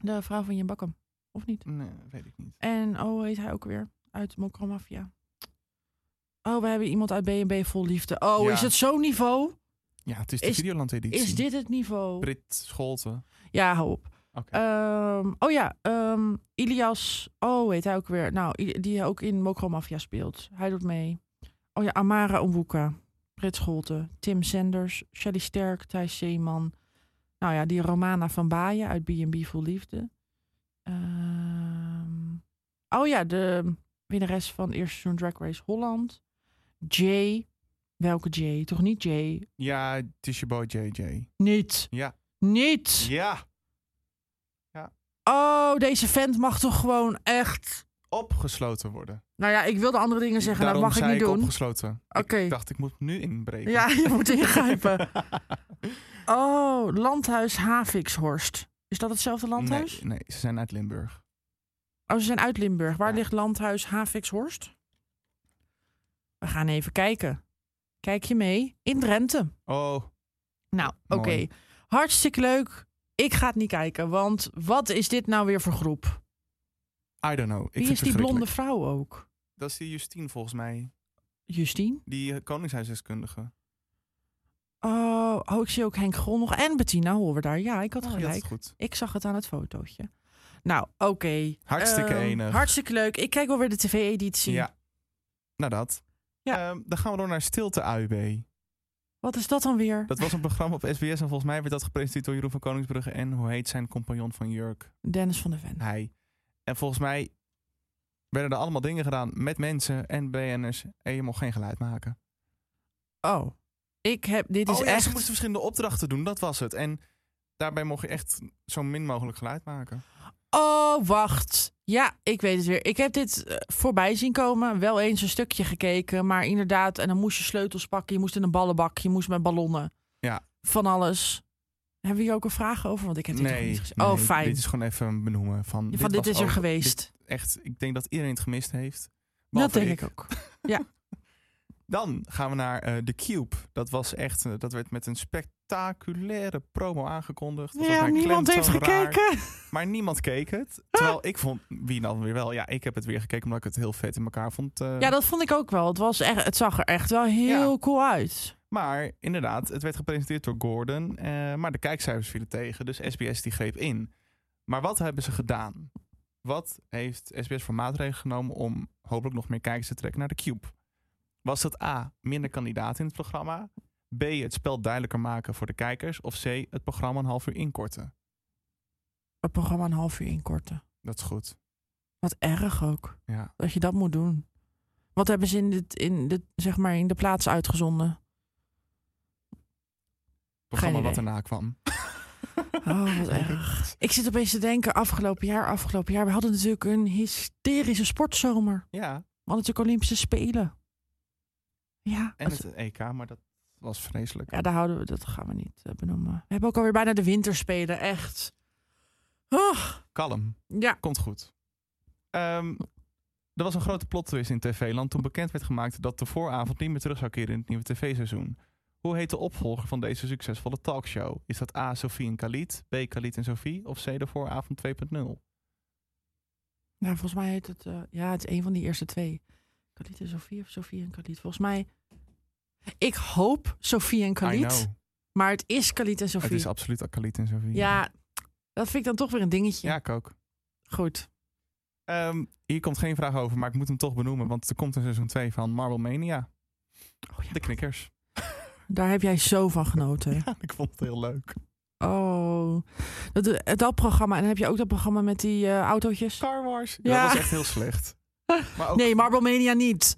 Speaker 2: De vrouw van Jan Bakkum. Of niet?
Speaker 1: Nee, weet ik niet.
Speaker 2: En oh, hoe heet hij ook weer? Uit Mokro Mafia. Oh, we hebben iemand uit B&B vol liefde. Oh,
Speaker 1: Ja.
Speaker 2: is het zo'n niveau?
Speaker 1: Ja, het is de
Speaker 2: Is-
Speaker 1: Videoland-editie.
Speaker 2: Is dit het niveau?
Speaker 1: Brit Scholten.
Speaker 2: Ja, hou op.
Speaker 1: Oké.
Speaker 2: Ehm, oh ja, ehm, Ilias. Oh, weet hij ook weer. Nou, i- die ook in Mokro Mafia speelt. Hij doet mee. Oh ja, Amara Onwuka. Frits Scholte. Tim Sanders. Shelly Sterk. Thijs Zeeman. Nou ja, die Romana van Baaien uit B&B Vol Liefde. Ehm, oh ja, de winnares van eerste seizoen Drag Race Holland. Jay. Welke Jay? Toch niet Jay?
Speaker 1: Ja, het is je boy JJ.
Speaker 2: Niet.
Speaker 1: Ja.
Speaker 2: Niet.
Speaker 1: Ja,
Speaker 2: Oh, deze vent mag toch gewoon echt...
Speaker 1: opgesloten worden.
Speaker 2: Nou ja, ik wilde andere dingen zeggen,
Speaker 1: Daarom
Speaker 2: dat mag ik
Speaker 1: zei
Speaker 2: niet doen.
Speaker 1: opgesloten.
Speaker 2: Oké.
Speaker 1: Ik dacht, ik moet nu inbreken.
Speaker 2: Ja, je moet ingrijpen. Oh, Landhuis Havikshorst. Is dat hetzelfde landhuis?
Speaker 1: Nee, nee, ze zijn uit Limburg.
Speaker 2: Oh, ze zijn uit Limburg. Waar
Speaker 1: Ja.
Speaker 2: ligt Landhuis Havikshorst? We gaan even kijken. Kijk je mee? In Drenthe.
Speaker 1: Oh,
Speaker 2: Nou, oké.
Speaker 1: Mooi.
Speaker 2: Hartstikke leuk. Ik ga het niet kijken, want wat is dit nou weer voor groep?
Speaker 1: I don't know. Ik
Speaker 2: Wie
Speaker 1: vind
Speaker 2: is
Speaker 1: het
Speaker 2: die blonde
Speaker 1: verschrikkelijk.
Speaker 2: vrouw ook?
Speaker 1: Dat is die Justine volgens mij.
Speaker 2: Justine?
Speaker 1: Die eh, koningshuisdeskundige.
Speaker 2: Oh, oh, ik zie ook Henk Grol nog en Bettina Holwer daar. Ja, ik had
Speaker 1: Oh,
Speaker 2: gelijk.
Speaker 1: dat is goed.
Speaker 2: Ik zag het aan het fotootje. Nou, oké.
Speaker 1: Hartstikke
Speaker 2: Ehm,
Speaker 1: enig.
Speaker 2: Hartstikke leuk. Ik kijk alweer de tv-editie.
Speaker 1: Ja. Nou dat.
Speaker 2: Ja.
Speaker 1: Ehm, dan gaan we door naar Stilte AUB.
Speaker 2: Wat is dat dan weer?
Speaker 1: Dat was een programma op SBS en volgens mij werd dat gepresenteerd door Jeroen van Koningsbrugge en hoe heet zijn compagnon van Jurk?
Speaker 2: Dennis van der Ven.
Speaker 1: Hij. En volgens mij werden er allemaal dingen gedaan met mensen en BN'ers en je mocht geen geluid maken.
Speaker 2: Oh. Ik heb... Dit is
Speaker 1: oh, ja,
Speaker 2: echt...
Speaker 1: ze moesten verschillende opdrachten doen, dat was het. En daarbij mocht je echt zo min mogelijk geluid maken.
Speaker 2: Oh, wacht. Ja, ik weet het weer. Ik heb dit eh, voorbij zien komen. Wel eens een stukje gekeken. Maar inderdaad, en dan moest je sleutels pakken. Je moest in een ballenbak. Je moest met ballonnen.
Speaker 1: Ja.
Speaker 2: Van alles. Hebben we hier ook een vraag over? Want ik heb dit nog niet gezien. oh,
Speaker 1: nee,
Speaker 2: fijn.
Speaker 1: Dit is gewoon even benoemen. Van,
Speaker 2: Van dit,
Speaker 1: was
Speaker 2: is er
Speaker 1: ook-
Speaker 2: geweest.
Speaker 1: dit echt, ik denk dat iedereen het gemist heeft.
Speaker 2: Dat
Speaker 1: Behalve
Speaker 2: denk ik ook.
Speaker 1: Dan gaan we naar eh The Cube. Dat was echt, eh, dat werd met een spectaculaire promo aangekondigd. Was ook
Speaker 2: Ja,
Speaker 1: naar
Speaker 2: niemand heeft
Speaker 1: klemtoon raar,
Speaker 2: gekeken. Ah.
Speaker 1: Maar niemand keek het. Terwijl ik vond, wie dan weer wel? Ja, ik heb het weer gekeken omdat ik het heel vet in elkaar vond. eh,
Speaker 2: Ja, dat vond ik ook wel. Het, was echt, het zag er echt wel heel
Speaker 1: Ja.
Speaker 2: cool uit.
Speaker 1: Maar inderdaad, het werd gepresenteerd door Gordon. eh, maar de kijkcijfers vielen tegen, dus SBS die greep in. Maar wat hebben ze gedaan? Wat heeft SBS voor maatregelen genomen om hopelijk nog meer kijkers te trekken naar de Cube? Was dat A, minder kandidaten in het programma? B, het spel duidelijker maken voor de kijkers? Of C, het programma een half uur inkorten?
Speaker 2: Het programma een half uur inkorten.
Speaker 1: Dat is goed.
Speaker 2: Wat erg ook.
Speaker 1: Ja.
Speaker 2: Dat je dat moet doen. Wat hebben ze in, dit, in, dit, zeg maar in de plaats uitgezonden?
Speaker 1: Programma wat
Speaker 2: idee.
Speaker 1: erna kwam.
Speaker 2: Oh, wat erg. Ik zit opeens te denken, afgelopen jaar, afgelopen jaar. We hadden natuurlijk een hysterische sportzomer.
Speaker 1: Ja,
Speaker 2: We hadden natuurlijk Olympische Spelen. Ja,
Speaker 1: en
Speaker 2: dat-
Speaker 1: het EK, maar dat was vreselijk.
Speaker 2: ja daar houden we, dat gaan we niet eh, benoemen. We hebben ook alweer bijna de winterspelen, echt. Oh,
Speaker 1: Kalm.
Speaker 2: ja,
Speaker 1: Komt goed. Ehm, er was een grote plot twist in TV-land toen bekend werd gemaakt dat de vooravond niet meer terug zou keren in het nieuwe tv-seizoen. Hoe heet de opvolger van deze succesvolle talkshow? Is dat A. Sophie en Khalid, B. Khalid en Sophie of C. de vooravond 2.0?
Speaker 2: ja, volgens mij heet het... eh, ja, het is een van die eerste twee. Khalid en Sofie of Sofie en Khalid. Volgens mij... Ik hoop Sofie en
Speaker 1: I
Speaker 2: Khalid.
Speaker 1: know.
Speaker 2: Maar het is Khalid en
Speaker 1: Het
Speaker 2: Sofie.
Speaker 1: is absoluut Khalid en Sophie.
Speaker 2: Ja, dat vind ik dan toch weer een dingetje.
Speaker 1: ja ik ook.
Speaker 2: Goed.
Speaker 1: Ehm, hier komt geen vraag over, maar ik moet hem toch benoemen, want er komt een seizoen 2 van Marble Mania.
Speaker 2: Oh, ja.
Speaker 1: De knikkers.
Speaker 2: Daar heb jij zo van genoten.
Speaker 1: ik vond het heel leuk.
Speaker 2: Oh, dat, dat programma. En dan heb je ook dat programma met die eh, autootjes.
Speaker 1: Star Wars.
Speaker 2: Ja.
Speaker 1: Dat was echt heel slecht. Maar ook,
Speaker 2: Nee, Marble Mania niet.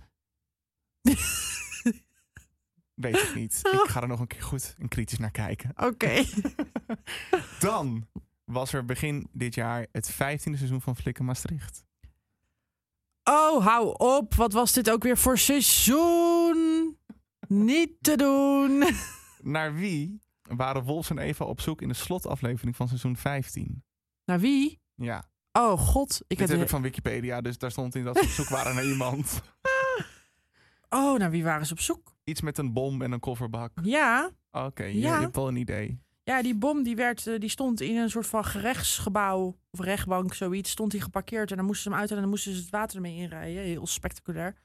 Speaker 1: weet ik niet. Ik ga er nog een keer goed en kritisch naar kijken.
Speaker 2: Oké.
Speaker 1: Dan was er begin dit jaar het 15e seizoen van Flikken Maastricht.
Speaker 2: Oh, hou op. Wat was dit ook weer voor seizoen? Niet te doen.
Speaker 1: Naar wie waren Wolfs en Eva op zoek in de slotaflevering van seizoen 15?
Speaker 2: Naar wie?
Speaker 1: Ja,
Speaker 2: Oh, god.
Speaker 1: dit
Speaker 2: Ik
Speaker 1: heb
Speaker 2: heb
Speaker 1: ik van Wikipedia, dus daar stond in dat ze op zoek waren naar iemand.
Speaker 2: Oh, naar wie waren ze op zoek?
Speaker 1: Iets met een bom en een kofferbak.
Speaker 2: Ja.
Speaker 1: Oké, je,
Speaker 2: Ja.
Speaker 1: je hebt al een idee.
Speaker 2: Ja, die bom die werd, eh, die stond in een soort van gerechtsgebouw of rechtbank, zoiets. Stond die geparkeerd en dan moesten ze hem uithalen en dan moesten ze het water ermee inrijden. Heel spectaculair.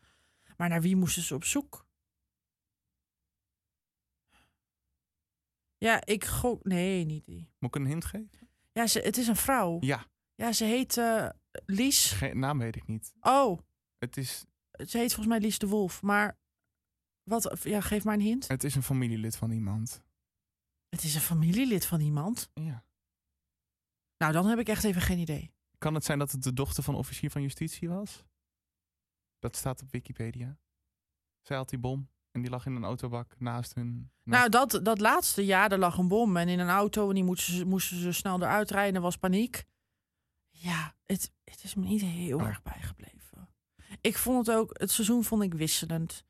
Speaker 2: Maar naar wie moesten ze op zoek? Ja, ik gok... Nee, niet die.
Speaker 1: Moet ik een hint geven?
Speaker 2: Ja, ze, het is een vrouw.
Speaker 1: Ja,
Speaker 2: Ja, ze heet eh, Lies.
Speaker 1: geen naam weet ik niet.
Speaker 2: Oh,
Speaker 1: Het is,
Speaker 2: ze heet volgens mij Lies de Wolf. Maar wat... Ja, geef maar een hint.
Speaker 1: het is een familielid van iemand.
Speaker 2: Het is een familielid van iemand.
Speaker 1: Ja.
Speaker 2: Nou, dan heb ik echt even geen idee.
Speaker 1: Kan het zijn dat het de dochter van officier van justitie was? Dat staat op Wikipedia. Zij had die bom en die lag in een autobak naast hun. naast
Speaker 2: Nou, dat, dat laatste jaar, er lag een bom en in een auto en die moesten ze, moesten ze snel eruit rijden. Er was paniek. Ja, het, het is me niet heel
Speaker 1: Oh.
Speaker 2: erg bijgebleven. Ik vond het ook, het seizoen vond ik wisselend.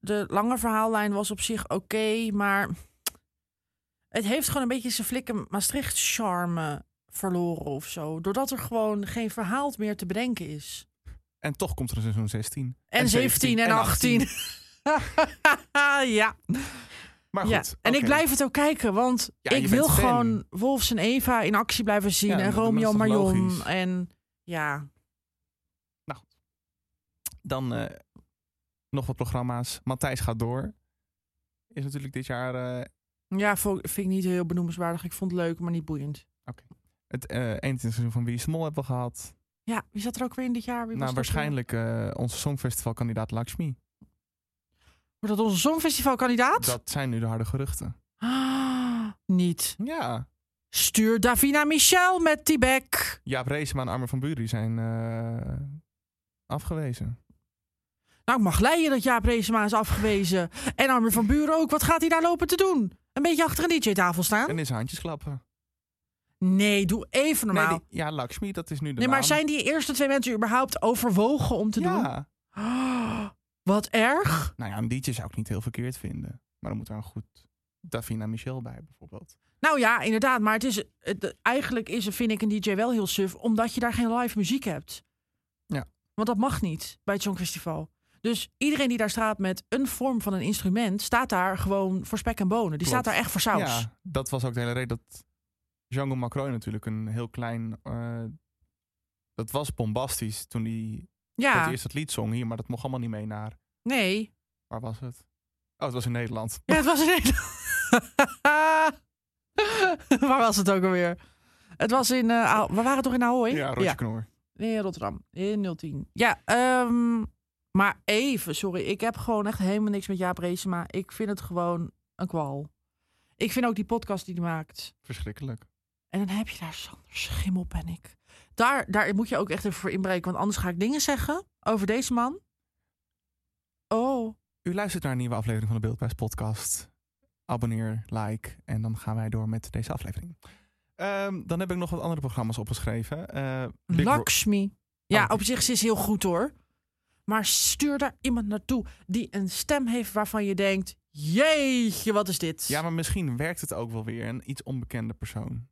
Speaker 2: De lange verhaallijn was op zich oké, maar het heeft gewoon een beetje zijn flikken Maastricht charme verloren of zo. Doordat er gewoon geen verhaal meer te bedenken is.
Speaker 1: En toch komt er een seizoen 16.
Speaker 2: En, 17, en 18. ja.
Speaker 1: Maar goed.
Speaker 2: ja. En ik
Speaker 1: oké.
Speaker 2: blijf het ook kijken, want
Speaker 1: Ja,
Speaker 2: ik
Speaker 1: je
Speaker 2: wil
Speaker 1: bent fan.
Speaker 2: gewoon Wolfs en Eva in actie blijven zien.
Speaker 1: Ja,
Speaker 2: en
Speaker 1: dat- dat
Speaker 2: Romeo
Speaker 1: is toch
Speaker 2: en Marion.
Speaker 1: logisch?
Speaker 2: En ja,
Speaker 1: Dan eh, nog wat programma's. Matthijs gaat door. Is natuurlijk dit jaar eh,
Speaker 2: ja vo- vind ik niet heel benoemenswaardig. Ik vond het leuk, maar niet boeiend.
Speaker 1: het eh 21 seizoen van Wie is de Mol hebben we gehad.
Speaker 2: Ja, wie zat er ook weer in dit jaar? Wie was
Speaker 1: nou,
Speaker 2: dat weer?
Speaker 1: waarschijnlijk eh, onze songfestivalkandidaat Lakshmi.
Speaker 2: Wordt dat onze Songfestivalkandidaat?
Speaker 1: Dat zijn nu de harde geruchten.
Speaker 2: Ah, niet.
Speaker 1: Ja.
Speaker 2: Stuur Davina Michel met die bek.
Speaker 1: Jaap Reesema en Armin van Buren die zijn eh, afgewezen.
Speaker 2: Nou, ik mag leiden dat Jaap Reesema is afgewezen. En Armin van Buren ook. Wat gaat hij daar lopen te doen? Een beetje achter een DJ-tafel staan?
Speaker 1: En is handjes klappen.
Speaker 2: Nee, doe even normaal.
Speaker 1: Nee, die- ja, Lakshmi, dat is nu de
Speaker 2: Nee, maar
Speaker 1: naam.
Speaker 2: zijn die eerste twee mensen überhaupt overwogen om te doen?
Speaker 1: ja.
Speaker 2: Ah, wat erg.
Speaker 1: Nou ja, een liedje zou ik niet heel verkeerd vinden. Maar dan moet er een goed Davina Michel bij bijvoorbeeld.
Speaker 2: Nou ja, inderdaad. Maar het is, het, eigenlijk is, vind ik een DJ wel heel suf, omdat je daar geen live muziek hebt.
Speaker 1: Ja.
Speaker 2: Want dat mag niet bij het Songfestival. Dus iedereen die daar staat met een vorm van een instrument, staat daar gewoon voor spek en bonen. Die
Speaker 1: Klopt.
Speaker 2: staat daar echt voor saus.
Speaker 1: Ja, dat was ook de hele reden dat Django Macron natuurlijk een heel klein... eh, dat was bombastisch toen hij voor het
Speaker 2: Ja,
Speaker 1: eerst dat lied zong hier, maar dat mocht allemaal niet mee naar...
Speaker 2: nee.
Speaker 1: Waar was het? Oh, het was in Nederland.
Speaker 2: Ja, het was in Nederland. waar was het ook alweer? Het was in. eh, Ah- we waren toch in Ahoy?
Speaker 1: Ja, Roger Knor.
Speaker 2: Nee, Rotterdam. In 010. Ja, ehm, maar even, sorry. Ik heb gewoon echt helemaal niks met Jaap Reesema. Ik vind het gewoon een kwal. Ik vind ook die podcast die hij maakt.
Speaker 1: Verschrikkelijk.
Speaker 2: En dan heb je daar Sander Schimmel, ben ik. Daar, daar moet je ook echt even voor inbreken. Want anders ga ik dingen zeggen over deze man. Oh,
Speaker 1: U luistert naar een nieuwe aflevering van de Beeldbuis podcast. Abonneer, like en dan gaan wij door met deze aflevering. Ehm, dan heb ik nog wat andere programma's opgeschreven. Eh, Big Bro-
Speaker 2: Lakshmi. Ja,
Speaker 1: Oh.
Speaker 2: op zich ze is heel goed hoor. Maar stuur daar iemand naartoe die een stem heeft waarvan je denkt... Jeetje, wat is dit?
Speaker 1: Ja, maar misschien werkt het ook wel weer een iets onbekende persoon.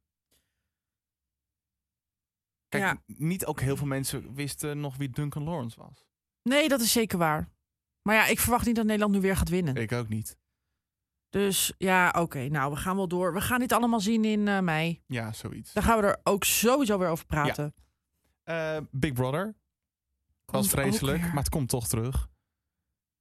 Speaker 1: Kijk,
Speaker 2: Ja.
Speaker 1: n- niet ook heel veel mensen wisten nog wie Duncan Lawrence was.
Speaker 2: Nee, dat is zeker waar. Maar ja, ik verwacht niet dat Nederland nu weer gaat winnen.
Speaker 1: Ik ook niet.
Speaker 2: Dus ja, oké, nou, we gaan wel door. We gaan dit allemaal zien in eh, mei.
Speaker 1: Ja, zoiets.
Speaker 2: Daar gaan we er ook sowieso weer over praten.
Speaker 1: Eh, Big Brother. was
Speaker 2: Komt ook
Speaker 1: vreselijk,
Speaker 2: weer.
Speaker 1: maar het komt toch terug.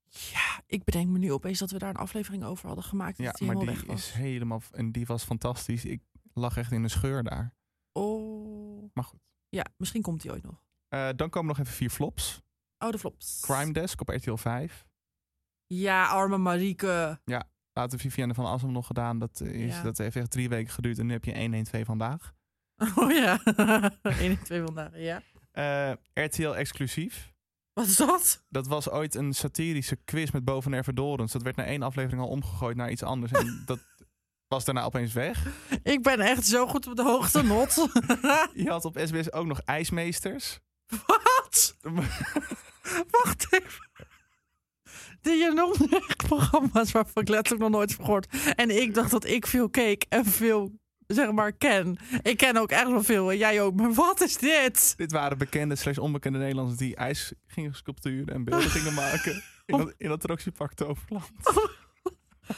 Speaker 2: Ja, ik bedenk me nu opeens dat we daar een aflevering over hadden gemaakt.
Speaker 1: Ja,
Speaker 2: dat die
Speaker 1: maar
Speaker 2: helemaal
Speaker 1: die
Speaker 2: weg was.
Speaker 1: is helemaal... En die was fantastisch. Ik lag echt in een scheur daar.
Speaker 2: Oh.
Speaker 1: Maar goed.
Speaker 2: Ja, misschien komt die ooit nog.
Speaker 1: Eh, dan komen nog even vier flops.
Speaker 2: Oh, de flops.
Speaker 1: Crime Desk op RTL 5.
Speaker 2: Ja, arme Marieke.
Speaker 1: Later Vivienne van Assem nog gedaan. Dat, is,
Speaker 2: Ja.
Speaker 1: dat heeft echt drie weken geduurd. En nu heb je 112 vandaag.
Speaker 2: Oh ja. 1 en 2 vandaag, ja.
Speaker 1: Eh, RTL Exclusief.
Speaker 2: Wat is dat?
Speaker 1: Dat was ooit een satirische quiz met Boven Dorens. Dat werd na één aflevering al omgegooid naar iets anders. En dat was daarna opeens weg.
Speaker 2: Ik ben echt zo goed op de hoogte, Not.
Speaker 1: Je had op SBS ook nog IJsmeesters.
Speaker 2: Wat? Wacht even. Je noemde echt programma's waarvan ik letterlijk nog nooit heb gehoord. En ik dacht dat ik veel keek en veel, zeg maar, ken. Ik ken ook echt wel veel en jij ook. Maar wat is dit?
Speaker 1: Dit waren bekende slash onbekende Nederlanders die ijs gingen sculpturen en beelden gingen maken. In dat, in dat attractiepark Toverland.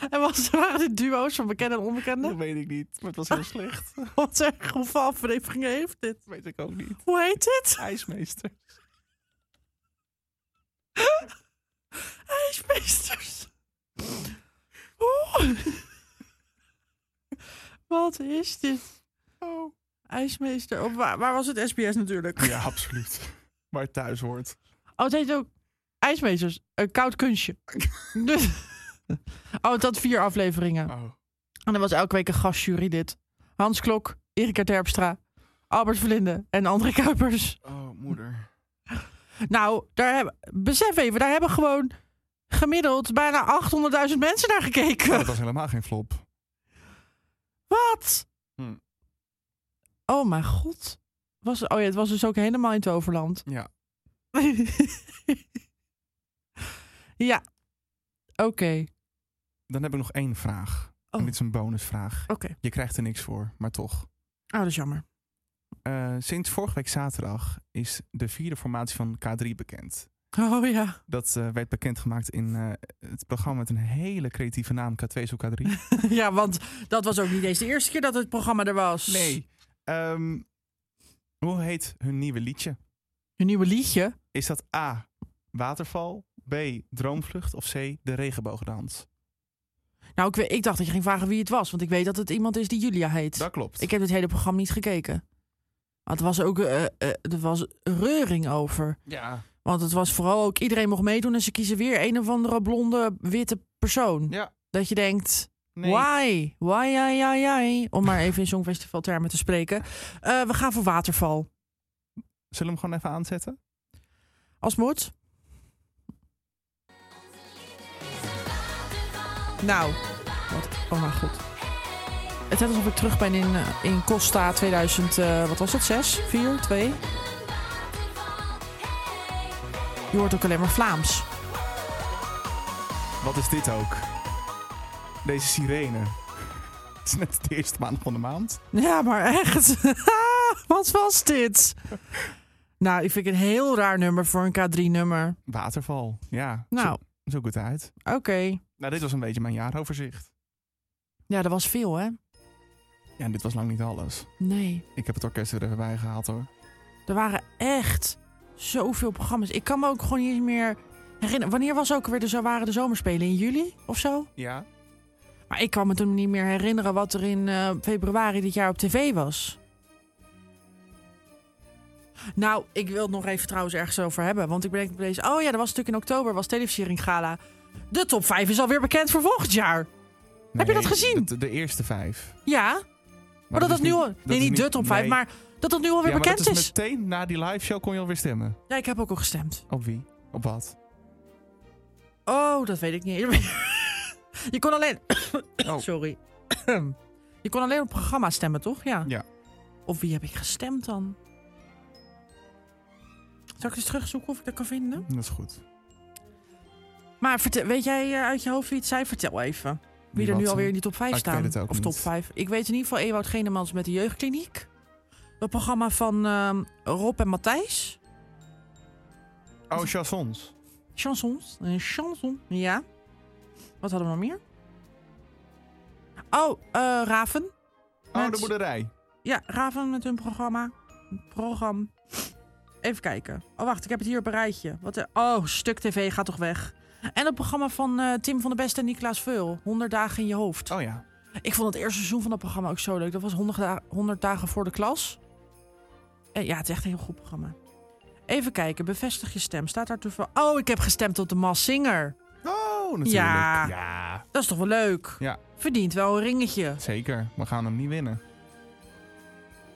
Speaker 2: En was, waren dit duo's van bekende en onbekende?
Speaker 1: Dat weet ik niet, maar het was heel slecht.
Speaker 2: Wat erg, hoeveel afleveringen heeft dit?
Speaker 1: Dat weet ik ook niet.
Speaker 2: Hoe heet dit?
Speaker 1: IJsmeester.
Speaker 2: IJsmeesters. Oeh. Oh. Wat is dit?
Speaker 1: Oh.
Speaker 2: IJsmeester. Of waar, waar was het? SBS natuurlijk.
Speaker 1: Ja, absoluut. Waar het thuis hoort.
Speaker 2: Oh, het heet ook IJsmeesters. Een koud kunstje. Dus- oh, het had vier afleveringen.
Speaker 1: Oh.
Speaker 2: En er was elke week een gastjury dit. Hans Klok, Erika Terpstra, Albert Verlinde en André Kuipers.
Speaker 1: Oh, moeder.
Speaker 2: Nou, daar hebben, besef even, daar hebben gewoon gemiddeld bijna 800.000 mensen naar gekeken.
Speaker 1: Dat was helemaal geen flop.
Speaker 2: Wat?
Speaker 1: Hm.
Speaker 2: Oh mijn god. Was, oh ja, het was dus ook helemaal in Toverland.
Speaker 1: Ja.
Speaker 2: ja. Oké.
Speaker 1: Dan heb ik nog één vraag.
Speaker 2: Oh.
Speaker 1: En dit is een bonusvraag.
Speaker 2: Oké.
Speaker 1: Je krijgt er niks voor, maar toch.
Speaker 2: Oh, dat is jammer.
Speaker 1: Eh, sinds vorige week zaterdag is de vierde formatie van K3 bekend.
Speaker 2: Oh ja.
Speaker 1: Dat eh, werd bekendgemaakt in eh, het programma met een hele creatieve naam K2 zo K3.
Speaker 2: ja, want dat was ook niet eens de eerste keer dat het programma er was.
Speaker 1: Nee. Ehm, hoe heet hun nieuwe liedje?
Speaker 2: Een nieuwe liedje.
Speaker 1: Is dat A. Waterval, B. Droomvlucht of C. De regenboogdans?
Speaker 2: Nou, ik, we- ik dacht dat je ging vragen wie het was. Want ik weet dat het iemand is die Julia heet.
Speaker 1: Dat klopt.
Speaker 2: Ik heb het hele programma niet gekeken. Want er was ook eh, eh, er was reuring over.
Speaker 1: Ja.
Speaker 2: Want het was vooral ook iedereen mocht meedoen en ze kiezen weer een of andere blonde witte persoon.
Speaker 1: Ja.
Speaker 2: Dat je denkt,
Speaker 1: Nee.
Speaker 2: why? Why, ja, ja, ja. Om maar even in Songfestival termen te spreken. Eh, we gaan voor waterval.
Speaker 1: Zullen we hem gewoon even aanzetten?
Speaker 2: Als moet. Nou, wat, oh mijn god. Het is alsof ik terug ben in, eh, in Costa 2000, eh, wat was het, 6, 4, 2? Je hoort ook alleen maar Vlaams.
Speaker 1: Wat is dit ook? Deze sirene. Het is net de eerste maand van de maand.
Speaker 2: Ja, maar echt. Wat was dit? Nou, ik vind het een heel raar nummer voor een K3-nummer.
Speaker 1: Waterval. Ja.
Speaker 2: Nou,
Speaker 1: Zo, zo goed uit.
Speaker 2: oké.
Speaker 1: Nou, dit was een beetje mijn jaaroverzicht.
Speaker 2: Ja, dat was veel, hè?
Speaker 1: Ja, en dit was lang niet alles.
Speaker 2: Nee.
Speaker 1: Ik heb het orkest er even bij gehaald hoor.
Speaker 2: Er waren echt zoveel programma's. Ik kan me ook gewoon niet eens meer herinneren. Wanneer was ook weer de, zo- waren de zomerspelen? In juli of zo?
Speaker 1: Ja.
Speaker 2: Maar ik kan me toen niet meer herinneren wat er in eh, februari dit jaar op tv was. Nou, ik wil het nog even trouwens ergens over hebben. Want ik ben denk deze. Oh ja, er was natuurlijk in oktober was televisiering gala. De top 5 is alweer bekend voor volgend jaar. Heb je dat gezien?
Speaker 1: De, de eerste vijf.
Speaker 2: Ja, maar, dat dat,
Speaker 1: is
Speaker 2: nu
Speaker 1: niet-
Speaker 2: al. Nee,
Speaker 1: is
Speaker 2: niet de top 5,
Speaker 1: nee.
Speaker 2: maar dat dat nu alweer
Speaker 1: Ja, maar
Speaker 2: bekend
Speaker 1: dat
Speaker 2: is.
Speaker 1: is meteen na die live show kon je alweer stemmen.
Speaker 2: Ja, ik heb ook al gestemd.
Speaker 1: Op wie? Op wat?
Speaker 2: Oh, dat weet ik niet. Je kon alleen.
Speaker 1: Oh.
Speaker 2: Sorry. Je kon alleen op programma stemmen, toch? Ja.
Speaker 1: Ja.
Speaker 2: Of wie heb ik gestemd dan? Zal ik eens terugzoeken of ik dat kan vinden?
Speaker 1: Dat is goed.
Speaker 2: Maar vertel, weet jij eh, uit je hoofd wie het zei? Vertel even. Wie, er
Speaker 1: wat,
Speaker 2: nu
Speaker 1: eh,
Speaker 2: alweer in die top 5
Speaker 1: ik
Speaker 2: staan.
Speaker 1: weet het ook
Speaker 2: of top
Speaker 1: niet.
Speaker 2: 5. Ik weet in ieder geval Ewout Genemans met de Jeugdkliniek. Dat programma van ehm, Rob en Matthijs.
Speaker 1: Oh, chansons.
Speaker 2: Chansons. Een chanson. Ja. Wat hadden we nog meer? Oh, eh, Raven.
Speaker 1: Oh,
Speaker 2: Met-
Speaker 1: de boerderij.
Speaker 2: Ja, Raven met hun programma. Program. Even kijken. Oh, wacht. Ik heb het hier op een rijtje. Wat er... Oh, Stuk TV gaat toch weg. En het programma van eh, Tim van der Best en Niklaas Veul. 100 dagen in je hoofd.
Speaker 1: Oh ja.
Speaker 2: Ik vond het eerste seizoen van dat programma ook zo leuk. Dat was 100, da- 100 dagen voor de klas. En ja, het is echt een heel goed programma. Even kijken, bevestig je stem. Staat daar toevallig... Oh, ik heb gestemd op de Mas Singer.
Speaker 1: Oh, natuurlijk.
Speaker 2: Ja.
Speaker 1: ja.
Speaker 2: Dat is toch wel leuk?
Speaker 1: Ja.
Speaker 2: Verdient wel een ringetje.
Speaker 1: Zeker. We gaan hem niet winnen.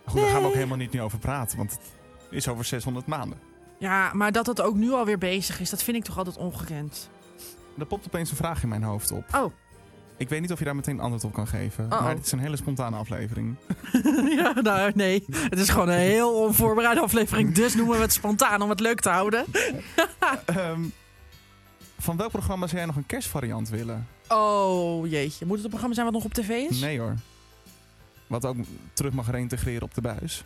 Speaker 1: Goed, daar gaan we ook helemaal niet nu over praten, want het is over 600 maanden.
Speaker 2: Ja, maar dat dat ook nu alweer bezig is, dat vind ik toch altijd ongekend.
Speaker 1: Er popt opeens een vraag in mijn hoofd op.
Speaker 2: Oh.
Speaker 1: Ik weet niet of je daar meteen antwoord op kan geven,
Speaker 2: Uh-oh.
Speaker 1: maar het is een hele spontane aflevering.
Speaker 2: ja, nou nee. Het is gewoon een heel onvoorbereide aflevering. Dus noemen we het spontaan om het leuk te houden.
Speaker 1: Ehm, van welk programma zou jij nog een kerstvariant willen?
Speaker 2: Oh jeetje. Moet het een programma zijn wat nog op tv is?
Speaker 1: Nee hoor. Wat ook terug mag reintegreren op de buis.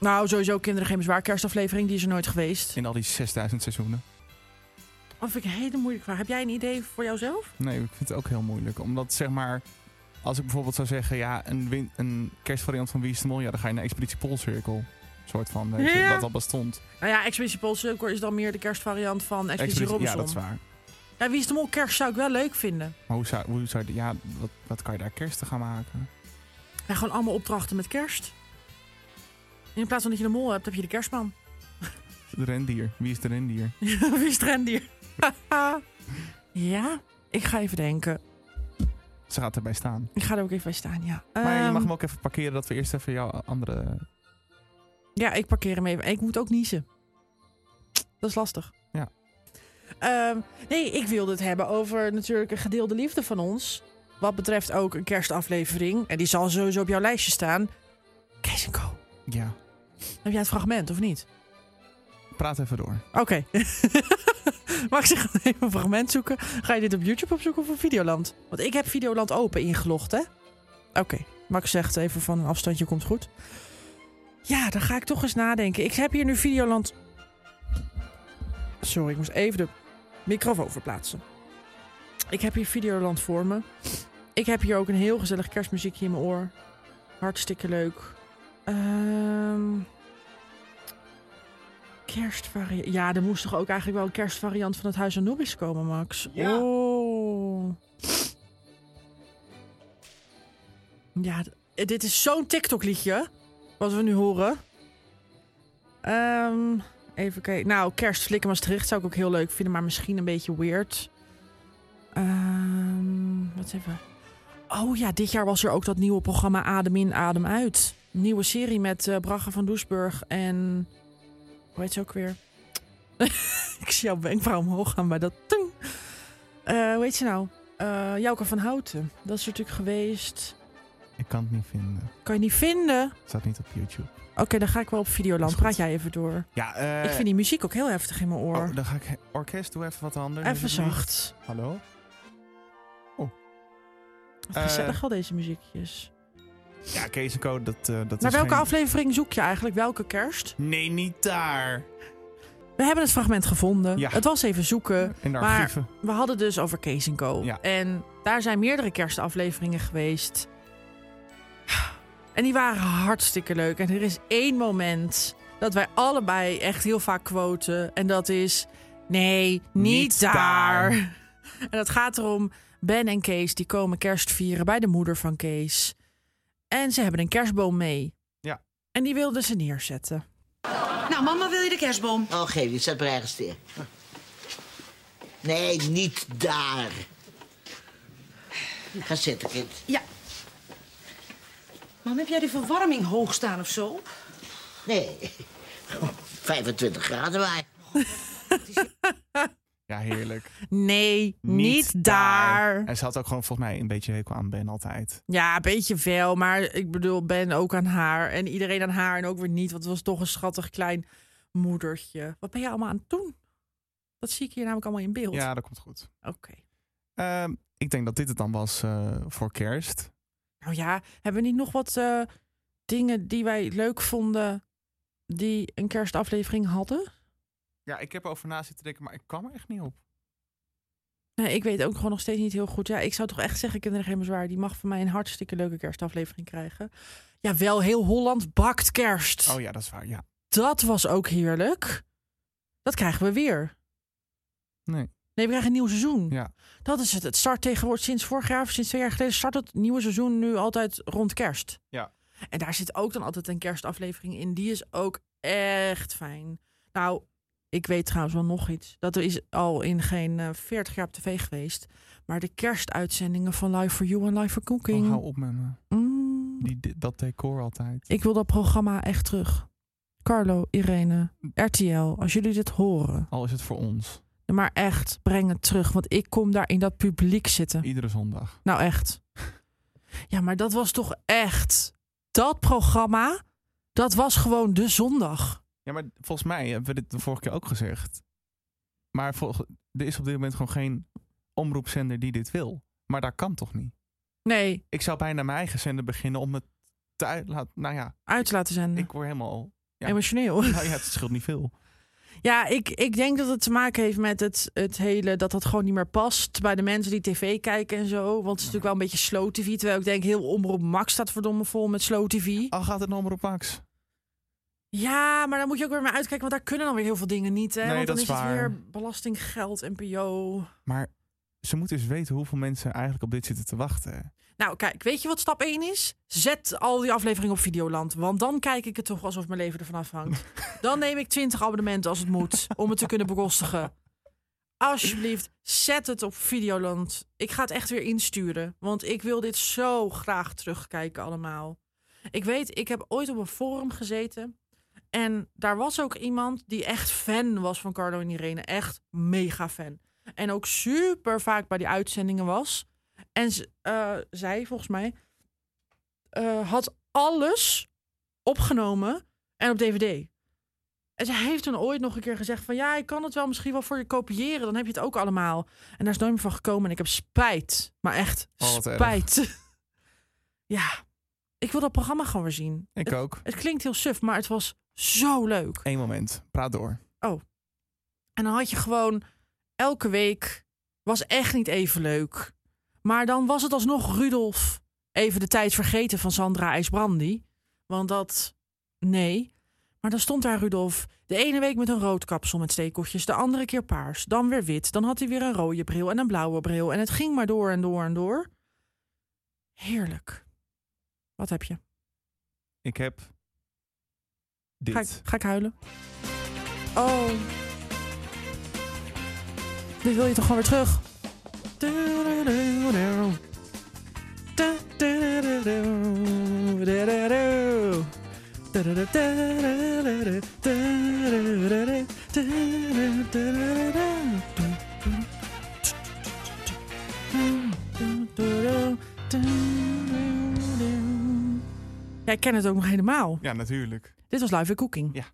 Speaker 2: Nou, sowieso Kinderen Geen Bezwaar kerstaflevering. Die is er nooit geweest.
Speaker 1: In al die 6000 seizoenen.
Speaker 2: Of ik een hele moeilijk vraag. Heb jij een idee voor jouzelf?
Speaker 1: Nee, ik vind het ook heel moeilijk. Omdat zeg maar, als ik bijvoorbeeld zou zeggen, ja, een, win- een kerstvariant van Wie is de Mol? Ja, dan ga je naar Expeditie Poolcirkel. Soort van, weet je,
Speaker 2: Ja.
Speaker 1: wat al bestond.
Speaker 2: Nou ja, Expeditie Polsukor is dan meer de kerstvariant van Expeditie
Speaker 1: ja,
Speaker 2: Robinson.
Speaker 1: dat is waar.
Speaker 2: Ja, Wie is de Mol kerst zou ik wel leuk vinden.
Speaker 1: Maar hoe zou, hoe zou je- ja, wat, wat kan je daar kersten gaan maken?
Speaker 2: Ja, gewoon allemaal opdrachten met kerst. En in plaats van dat je de mol hebt, heb je de kerstman.
Speaker 1: De rendier. Wie is de rendier?
Speaker 2: Wie is het rendier? ja, ik ga even denken.
Speaker 1: Ze gaat erbij staan.
Speaker 2: Ik ga er ook even bij staan, ja.
Speaker 1: Maar je
Speaker 2: Ehm,
Speaker 1: mag hem ook even parkeren dat we eerst even jouw andere...
Speaker 2: Ja, ik parkeer hem even. En ik moet ook niezen. Dat is lastig.
Speaker 1: Ja.
Speaker 2: Ehm, nee, ik wilde het hebben over natuurlijk een gedeelde liefde van ons. Wat betreft ook een kerstaflevering. En die zal sowieso op jouw lijstje staan. Kees en Co.
Speaker 1: Ja,
Speaker 2: Heb jij het fragment of niet?
Speaker 1: praat even door.
Speaker 2: Oké. Mag ik zeggen even een fragment zoeken? Ga je dit op YouTube opzoeken of op Videoland? Want ik heb Videoland open ingelogd, hè? Oké. Max zegt even van een afstandje komt goed. Ja, dan ga ik toch eens nadenken. Ik heb hier nu Videoland... Sorry, ik moest even de microfoon verplaatsen. Ik heb hier Videoland voor me. Ik heb hier ook een heel gezellig kerstmuziekje in mijn oor. Hartstikke leuk. Ehm... Kerstvariant. Ja, er moest toch ook eigenlijk wel een kerstvariant van het Huis Anubis komen, Max?
Speaker 1: Ja.
Speaker 2: Oh. Ja, d- dit is zo'n TikTok-liedje. Wat we nu horen. Ehm, even kijken. Nou, Kerstflikken Maastricht zou ik ook heel leuk vinden, maar misschien een beetje weird. Ehm, wat even. Oh ja, dit jaar was er ook dat nieuwe programma Adem in, Adem uit. Een nieuwe serie met eh Bragge van Doesburg en hoe heet ze ook weer? ik zie jouw wenkbrauw omhoog gaan, maar dat... Toeng. Eh, hoe heet ze nou? Eh Jouke van Houten. Dat is er natuurlijk geweest.
Speaker 1: Ik kan het niet vinden.
Speaker 2: Kan je niet vinden?
Speaker 1: Het staat niet op YouTube.
Speaker 2: Oké, dan ga ik wel op
Speaker 1: Is
Speaker 2: Videoland.
Speaker 1: goed.
Speaker 2: Praat jij even door.
Speaker 1: Ja, eh...
Speaker 2: ik vind die muziek ook heel heftig in mijn oor.
Speaker 1: oh, dan ga ik... Orkest, doe even wat anders.
Speaker 2: even
Speaker 1: alsjeblieft.
Speaker 2: zacht.
Speaker 1: Hallo?
Speaker 2: Wat
Speaker 1: Eh,
Speaker 2: gezellig al deze muziekjes.
Speaker 1: Ja, Kees en Co, dat, eh, dat
Speaker 2: Naar
Speaker 1: is
Speaker 2: welke
Speaker 1: geen-
Speaker 2: aflevering zoek je eigenlijk? Welke kerst?
Speaker 1: Nee, niet daar.
Speaker 2: We hebben het fragment gevonden.
Speaker 1: Ja.
Speaker 2: Het was even zoeken.
Speaker 1: In de
Speaker 2: maar-
Speaker 1: archieven.
Speaker 2: We hadden dus over Kees en Co.
Speaker 1: Ja.
Speaker 2: En daar zijn meerdere kerstafleveringen geweest. En die waren hartstikke leuk. En er is één moment dat wij allebei echt heel vaak quoten. En dat is... Nee, niet,
Speaker 1: Niet
Speaker 2: daar.
Speaker 1: daar.
Speaker 2: En dat gaat erom... Ben en Kees die komen kerst vieren bij de moeder van Kees. En ze hebben een kerstboom mee.
Speaker 1: Ja.
Speaker 2: En die wilden ze neerzetten.
Speaker 5: Nou, mama, wil je de kerstboom?
Speaker 6: Oh, geef je, zet maar ergens neer. Nee, niet daar. Ga zitten, kind.
Speaker 5: Ja. Mam, heb jij de verwarming hoog staan of zo?
Speaker 6: Nee. 25 graden maar.
Speaker 1: Ja, heerlijk.
Speaker 2: Nee, niet, daar.
Speaker 1: En ze had ook gewoon volgens mij een beetje hekel aan Ben altijd.
Speaker 2: Ja, een beetje wel, maar ik bedoel, Ben ook aan haar. En iedereen aan haar en ook weer niet, want het was toch een schattig klein moedertje. Wat ben je allemaal aan het doen? Dat zie ik hier namelijk allemaal in beeld.
Speaker 1: Ja, dat komt goed.
Speaker 2: Oké.
Speaker 1: Ehm, ik denk dat dit het dan was eh, voor kerst.
Speaker 2: Nou ja, hebben we niet nog wat eh, dingen die wij leuk vonden die een kerstaflevering hadden?
Speaker 1: Ja, ik heb erover na zitten denken, maar ik kwam er echt niet op.
Speaker 2: Nee, ik weet ook gewoon nog steeds niet heel goed. Ja, ik zou toch echt zeggen, kinderen geen bezwaar. Die mag van mij een hartstikke leuke kerstaflevering krijgen. Ja, wel heel Holland bakt kerst.
Speaker 1: Oh ja, dat is waar. Ja.
Speaker 2: Dat was ook heerlijk. Dat krijgen we weer.
Speaker 1: Nee.
Speaker 2: Nee, we krijgen een nieuw seizoen.
Speaker 1: Ja.
Speaker 2: Dat is het. Het start tegenwoordig sinds vorig jaar of sinds twee jaar geleden start het nieuwe seizoen nu altijd rond kerst.
Speaker 1: Ja.
Speaker 2: En daar zit ook dan altijd een kerstaflevering in. Die is ook echt fijn. Nou, ik weet trouwens wel nog iets. Dat is al in geen eh, 40 jaar op tv geweest. Maar de kerstuitzendingen van Live for You en Live for Cooking.
Speaker 1: Oh, hou op met me.
Speaker 2: Mm.
Speaker 1: Die, di- dat decor altijd.
Speaker 2: Ik wil dat programma echt terug. Carlo, Irene, RTL, als jullie dit horen.
Speaker 1: Al is het voor ons.
Speaker 2: Maar echt, breng het terug. Want ik kom daar in dat publiek zitten.
Speaker 1: Iedere zondag.
Speaker 2: Nou echt. Ja, maar dat was toch echt. Dat programma, dat was gewoon de zondag.
Speaker 1: Ja, maar volgens mij hebben we dit de vorige keer ook gezegd. Maar volg- er is op dit moment gewoon geen omroepzender die dit wil. Maar dat kan toch niet?
Speaker 2: Nee,
Speaker 1: Ik zou bijna mijn eigen zender beginnen om het te uit... laat- Nou ja,
Speaker 2: uit te laten zenden.
Speaker 1: ik word helemaal... ja.
Speaker 2: Emotioneel.
Speaker 1: Nou ja, het scheelt niet veel.
Speaker 2: Ja, ik, ik denk dat het te maken heeft met het, het hele... dat dat gewoon niet meer past bij de mensen die tv kijken en zo. Want het is natuurlijk wel een beetje slow tv. Terwijl ik denk, heel Omroep Max staat verdomme vol met slow tv.
Speaker 1: Al gaat het nummer op Max.
Speaker 2: Ja, maar dan moet je ook weer maar uitkijken. Want daar kunnen dan weer heel veel dingen niet. Hè?
Speaker 1: Nee,
Speaker 2: want dan
Speaker 1: dat
Speaker 2: is
Speaker 1: is waar.
Speaker 2: het weer belastinggeld, NPO.
Speaker 1: Maar ze moeten eens weten hoeveel mensen eigenlijk op dit zitten te wachten.
Speaker 2: Nou, kijk, weet je wat stap 1 is? Zet al die afleveringen op Videoland. Want dan kijk ik het toch alsof mijn leven ervan afhangt. Dan neem ik 20 abonnementen als het moet. Om het te kunnen bekostigen. Alsjeblieft, zet het op Videoland. Ik ga het echt weer insturen. Want ik wil dit zo graag terugkijken allemaal. Ik weet, ik heb ooit op een forum gezeten. En daar was ook iemand die echt fan was van Carlo en Irene. Echt mega fan. En ook super vaak bij die uitzendingen was. En ze- eh, zij, volgens mij, eh, had alles opgenomen en op dvd. En ze heeft toen ooit nog een keer gezegd van... ja, ik kan het wel misschien wel voor je kopiëren. Dan heb je het ook allemaal. En daar is nooit meer van gekomen. En ik heb spijt. Maar echt
Speaker 1: Oh, wat erg.
Speaker 2: spijt. ja, ik wil dat programma gewoon weer zien.
Speaker 1: Ik
Speaker 2: het,
Speaker 1: ook.
Speaker 2: het klinkt heel suf, maar het was zo leuk.
Speaker 1: Eén moment. Praat door.
Speaker 2: En dan had je gewoon elke week was echt niet even leuk. Maar dan was het alsnog Rudolf even de tijd vergeten van Sandra IJsbrandi. Want dat nee. Maar dan stond daar Rudolf de ene week met een rood kapsel met stekeltjes, de andere keer paars, dan weer wit, dan had hij weer een rode bril en een blauwe bril en het ging maar door en door en door. Heerlijk. Wat heb je?
Speaker 1: Ik heb dit.
Speaker 2: Ga ik, ga ik huilen? Oh. Dit wil je toch gewoon weer terug? Jij kent het ook nog helemaal.
Speaker 1: Ja, natuurlijk.
Speaker 2: Dit was Live in Cooking.
Speaker 1: Ja.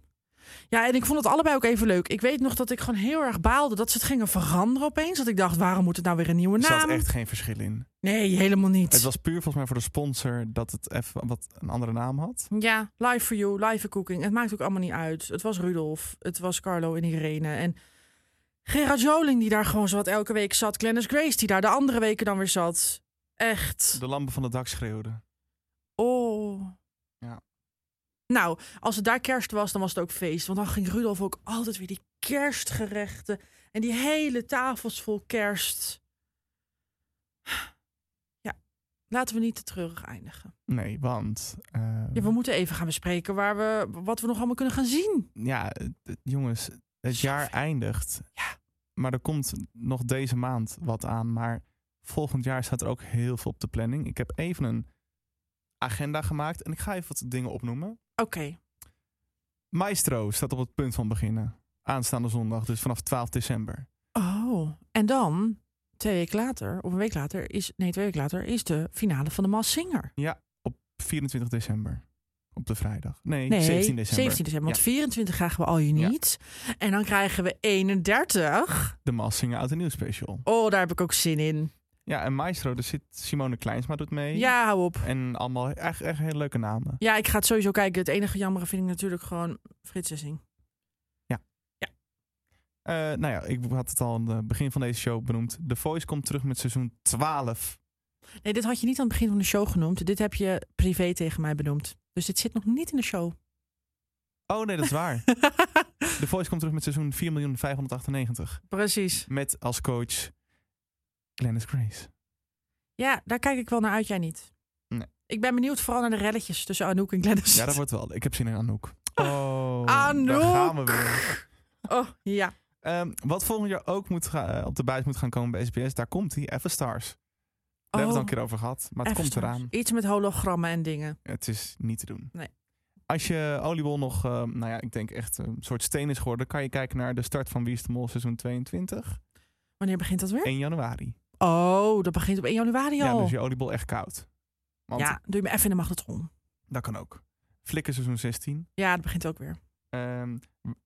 Speaker 2: Ja, en ik vond het allebei ook even leuk. Ik weet nog dat ik gewoon heel erg baalde dat ze het gingen veranderen opeens. Dat ik dacht, waarom moet het nou weer een nieuwe
Speaker 1: Er zat
Speaker 2: naam?
Speaker 1: echt geen verschil in.
Speaker 2: Nee, helemaal niet.
Speaker 1: Het was puur volgens mij voor de sponsor dat het even wat een andere naam had.
Speaker 2: Ja, Live for You, Live in Cooking. Het maakt ook allemaal niet uit. Het was Rudolf, het was Carlo en Irene. En Gerard Joling die daar gewoon zowat elke week zat. Glennis Grace die daar de andere weken dan weer zat. Echt.
Speaker 1: De lampen van het dak schreeuwden.
Speaker 2: Oh.
Speaker 1: Ja.
Speaker 2: Nou, als het daar kerst was, dan was het ook feest. Want dan ging Rudolf ook altijd weer die kerstgerechten. En die hele tafels vol kerst. Ja, Laten we niet te treurig eindigen.
Speaker 1: Nee, want... eh,
Speaker 2: Ja, we moeten even gaan bespreken waar we, wat we nog allemaal kunnen gaan zien.
Speaker 1: ja, het- het- jongens, het jaar eindigt.
Speaker 2: Ja.
Speaker 1: Maar er komt nog deze maand wat aan. Maar volgend jaar staat er ook heel veel op de planning. Ik heb even een agenda gemaakt en ik ga even wat dingen opnoemen.
Speaker 2: Oké,
Speaker 1: Maestro staat op het punt van beginnen. Aanstaande zondag, dus vanaf 12 december.
Speaker 2: Oh, en dan twee weken later, of een week later, is, nee, twee weken later, is de finale van de Maas Singer.
Speaker 1: Op 24 december. Op de vrijdag. Nee,
Speaker 2: Nee,
Speaker 1: 17 december.
Speaker 2: 17 december, want 24 krijgen we al je niet. En dan krijgen we 31.
Speaker 1: De Massingen uit de Nieuw Special.
Speaker 2: Oh, daar heb ik ook zin in.
Speaker 1: Ja, en Maestro, daar zit Simone Kleinsma doet mee.
Speaker 2: Ja, hou op.
Speaker 1: En allemaal echt, echt hele leuke namen.
Speaker 2: Ja, ik ga het sowieso kijken. Het enige jammere vind ik natuurlijk gewoon Frits Essing.
Speaker 1: Eh, nou ja, ik had het al aan het begin van deze show benoemd. The Voice komt terug met seizoen 12.
Speaker 2: Nee, dit had je niet aan het begin van de show genoemd. Dit heb je privé tegen mij benoemd. Dus dit zit nog niet in de show.
Speaker 1: Oh nee, dat is waar. The Voice komt terug met seizoen 4.598.
Speaker 2: Precies.
Speaker 1: Met als coach Glennis Grace.
Speaker 2: Ja, daar kijk ik wel naar uit, jij niet.
Speaker 1: Nee.
Speaker 2: Ik ben benieuwd vooral naar de relletjes tussen Anouk en Glennis.
Speaker 1: Ja, dat wordt wel. Ik heb zin in Anouk. Oh, daar
Speaker 2: Anouk!
Speaker 1: gaan we weer.
Speaker 2: Oh, ja.
Speaker 1: Ehm, wat volgend jaar ook moet gaan- eh, op de buis moet gaan komen bij SBS, daar komt hij. Even Stars. Daar hebben we het al een keer over gehad, maar het
Speaker 2: Oh, Even
Speaker 1: komt
Speaker 2: straks.
Speaker 1: eraan.
Speaker 2: Iets met hologrammen en dingen.
Speaker 1: Het is niet te doen.
Speaker 2: Nee.
Speaker 1: Als je oliebol nog, eh, nou ja, ik denk echt een soort steen is geworden, kan je kijken naar de start van Wie is de Mol seizoen 22,
Speaker 2: Wanneer begint dat weer?
Speaker 1: 1 januari.
Speaker 2: Oh, dat begint op 1 januari
Speaker 1: Ja,
Speaker 2: al.
Speaker 1: dus je oliebol echt koud. Want
Speaker 2: Ja, doe je me even in de magnetron.
Speaker 1: dat kan ook. Flikker seizoen 16.
Speaker 2: Ja, dat begint ook weer.
Speaker 1: Ehm,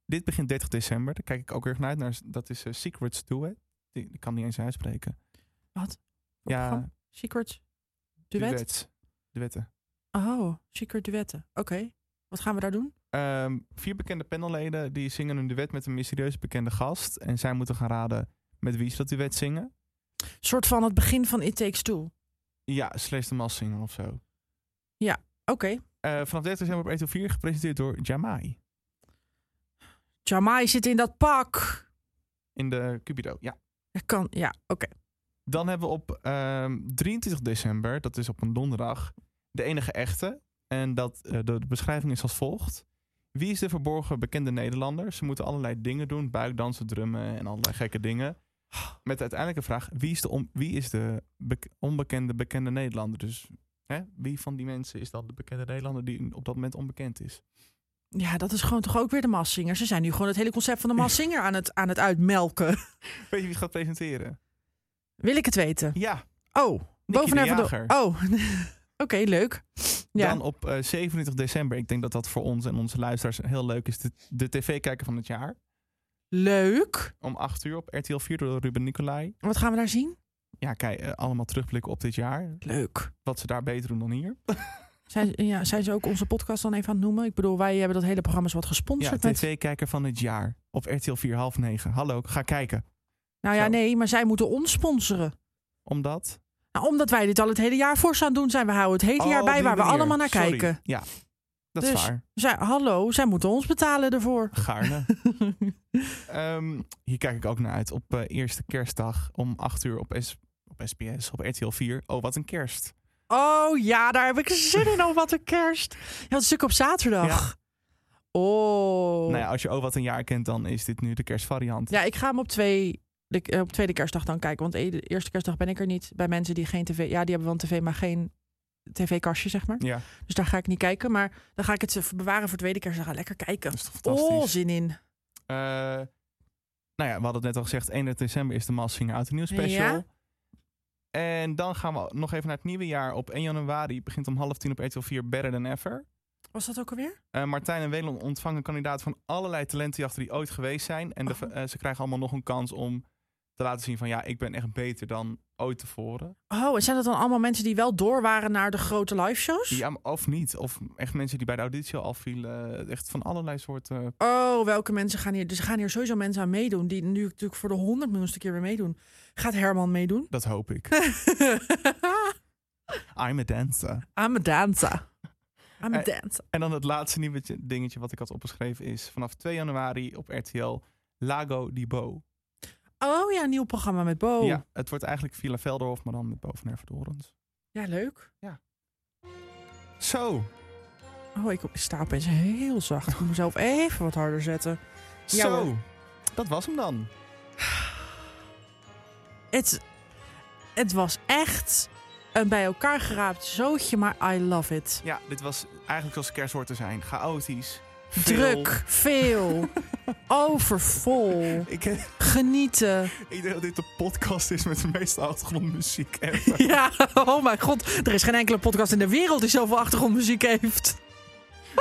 Speaker 1: dit begint 30 december, daar kijk ik ook erg naar uit. Naar, dat is eh, Secrets Duet. Die, die kan niet eens uitspreken.
Speaker 2: Wat?
Speaker 1: Ja,
Speaker 2: Programma? Secret duet?
Speaker 1: duets. Duetten.
Speaker 2: Oh, secret duetten. Oké. Wat gaan we daar doen?
Speaker 1: Ehm, vier bekende panelleden die zingen een duet met een mysterieus bekende gast. En zij moeten gaan raden met wie ze dat duet zingen.
Speaker 2: soort van het begin van It Takes Two. Oké.
Speaker 1: Ja, slash de mas zingen of zo. Eh, vanaf 30 december op ETO 4 gepresenteerd door Jamai.
Speaker 2: Jamai zit in dat pak.
Speaker 1: In de Cupido, ja.
Speaker 2: Dat kan, ja, oké.
Speaker 1: Dan hebben we op ehm, 23 december, dat is op een donderdag, de enige echte. En dat, eh, de, de beschrijving is als volgt. Wie is de verborgen bekende Nederlander? Ze moeten allerlei dingen doen, buikdansen, drummen en allerlei gekke dingen. Met de uiteindelijke vraag, wie is de, on- wie is de bek- onbekende bekende Nederlander? Dus hè, wie van die mensen is dan de bekende Nederlander die op dat moment onbekend is?
Speaker 2: Ja, dat is gewoon toch ook weer de Massinger. Ze zijn nu gewoon het hele concept van de Massinger aan het, aan het uitmelken.
Speaker 1: Weet je wie het gaat presenteren?
Speaker 2: Wil ik het weten?
Speaker 1: Ja,
Speaker 2: Oh, bovenaan
Speaker 1: de
Speaker 2: van de...
Speaker 1: Jager.
Speaker 2: Oh, oké, leuk. Ja.
Speaker 1: Dan op eh, 27 december, ik denk dat dat voor ons en onze luisteraars heel leuk is, de, de tv-kijker van het jaar.
Speaker 2: Leuk.
Speaker 1: om 8 uur op RTL 4 door Ruben Nicolai.
Speaker 2: Wat gaan we daar zien?
Speaker 1: Ja, kijk, eh, allemaal terugblikken op dit jaar.
Speaker 2: Leuk.
Speaker 1: Wat ze daar beter doen dan hier.
Speaker 2: Zijn, ja, zijn ze ook onze podcast dan even aan het noemen? Ik bedoel, wij hebben dat hele programma wat
Speaker 1: Ja,
Speaker 2: gesponsord. met...
Speaker 1: tv-kijker van het jaar. Op RTL 4, half negen. Hallo, ga kijken.
Speaker 2: Nou ja,
Speaker 1: Zo.
Speaker 2: nee, maar zij moeten ons sponsoren.
Speaker 1: Omdat...
Speaker 2: Nou, omdat wij dit al het hele jaar voor ze aan het doen zijn. We houden het hele jaar
Speaker 1: Oh,
Speaker 2: bij
Speaker 1: die
Speaker 2: waar we
Speaker 1: manier.
Speaker 2: allemaal naar
Speaker 1: Sorry.
Speaker 2: kijken.
Speaker 1: Ja, dat is
Speaker 2: Dus-
Speaker 1: waar.
Speaker 2: Zij, hallo, zij moeten ons betalen ervoor.
Speaker 1: Gaarne. Ehm, hier kijk ik ook naar uit. Op eh, eerste kerstdag om 8 uur op, S op SBS, op RTL 4. Oh, wat een kerst.
Speaker 2: Oh ja, daar heb ik zin in. Oh, wat een kerst. Je had een stuk op zaterdag. Oh.
Speaker 1: Nou ja, als je Oh, wat een jaar kent, dan is dit nu de kerstvariant.
Speaker 2: Ja, ik ga hem op, twee, de, eh, op tweede kerstdag dan kijken. Want e- de eerste kerstdag ben ik er niet. Bij mensen die geen tv... Ja, die hebben wel een tv, maar geen tv-kastje, zeg maar.
Speaker 1: Ja,
Speaker 2: Dus daar ga ik niet kijken. Maar dan ga ik het eh, bewaren voor tweede kerstdag. Ga Lekker kijken.
Speaker 1: dat is toch fantastisch.
Speaker 2: Oh, zin in.
Speaker 1: Eh, nou ja, we hadden het net al gezegd. 31 december is de Massinger Out Nieuws Special.
Speaker 2: Ja.
Speaker 1: En dan gaan we nog even naar het nieuwe jaar. Op 1 januari begint om half tien op RTL 4 Better Than Ever.
Speaker 2: Was dat ook alweer?
Speaker 1: Eh, Martijn en Welon ontvangen kandidaten van allerlei talentenjachten die ooit geweest zijn. En de
Speaker 2: Oh.
Speaker 1: v- eh, ze krijgen allemaal nog een kans om te laten zien van... ja, ik ben echt beter dan ooit tevoren.
Speaker 2: Oh, en zijn dat dan allemaal mensen die wel door waren naar de grote liveshows?
Speaker 1: Ja, maar of niet. Of echt mensen die bij de auditie al vielen. Eh, Echt van allerlei soorten...
Speaker 2: Oh, welke mensen gaan hier... Dus er gaan hier sowieso mensen aan meedoen... die nu natuurlijk voor de honderd miljoenste keer weer meedoen. Gaat Herman meedoen?
Speaker 1: dat hoop ik. I'm a dancer.
Speaker 2: I'm a dancer. I'm a
Speaker 1: Eh,
Speaker 2: dancer.
Speaker 1: En dan het laatste nieuwe dingetje wat ik had opgeschreven is... vanaf 2 januari op RTL Lago di Bo.
Speaker 2: Oh ja, een nieuw programma met Bo.
Speaker 1: Ja, het wordt eigenlijk Villa Velderhof, maar dan met Boven Erfendorens.
Speaker 2: Ja, leuk.
Speaker 1: Zo.
Speaker 2: Oh, ik sta opeens heel zacht. Ik moet mezelf even wat harder zetten. Ja,
Speaker 1: zo.
Speaker 2: hoor.
Speaker 1: Dat was hem dan.
Speaker 2: Het, het was echt een bij elkaar geraapt zootje, maar I love it.
Speaker 1: Ja, dit was eigenlijk zoals kerst hoort te zijn. Chaotisch.
Speaker 2: Druk, veel, overvol,
Speaker 1: Ik,
Speaker 2: genieten.
Speaker 1: ik denk dat dit de podcast is met de meeste achtergrondmuziek ever.
Speaker 2: Ja, oh mijn god. Er is geen enkele podcast in de wereld die zoveel achtergrondmuziek heeft.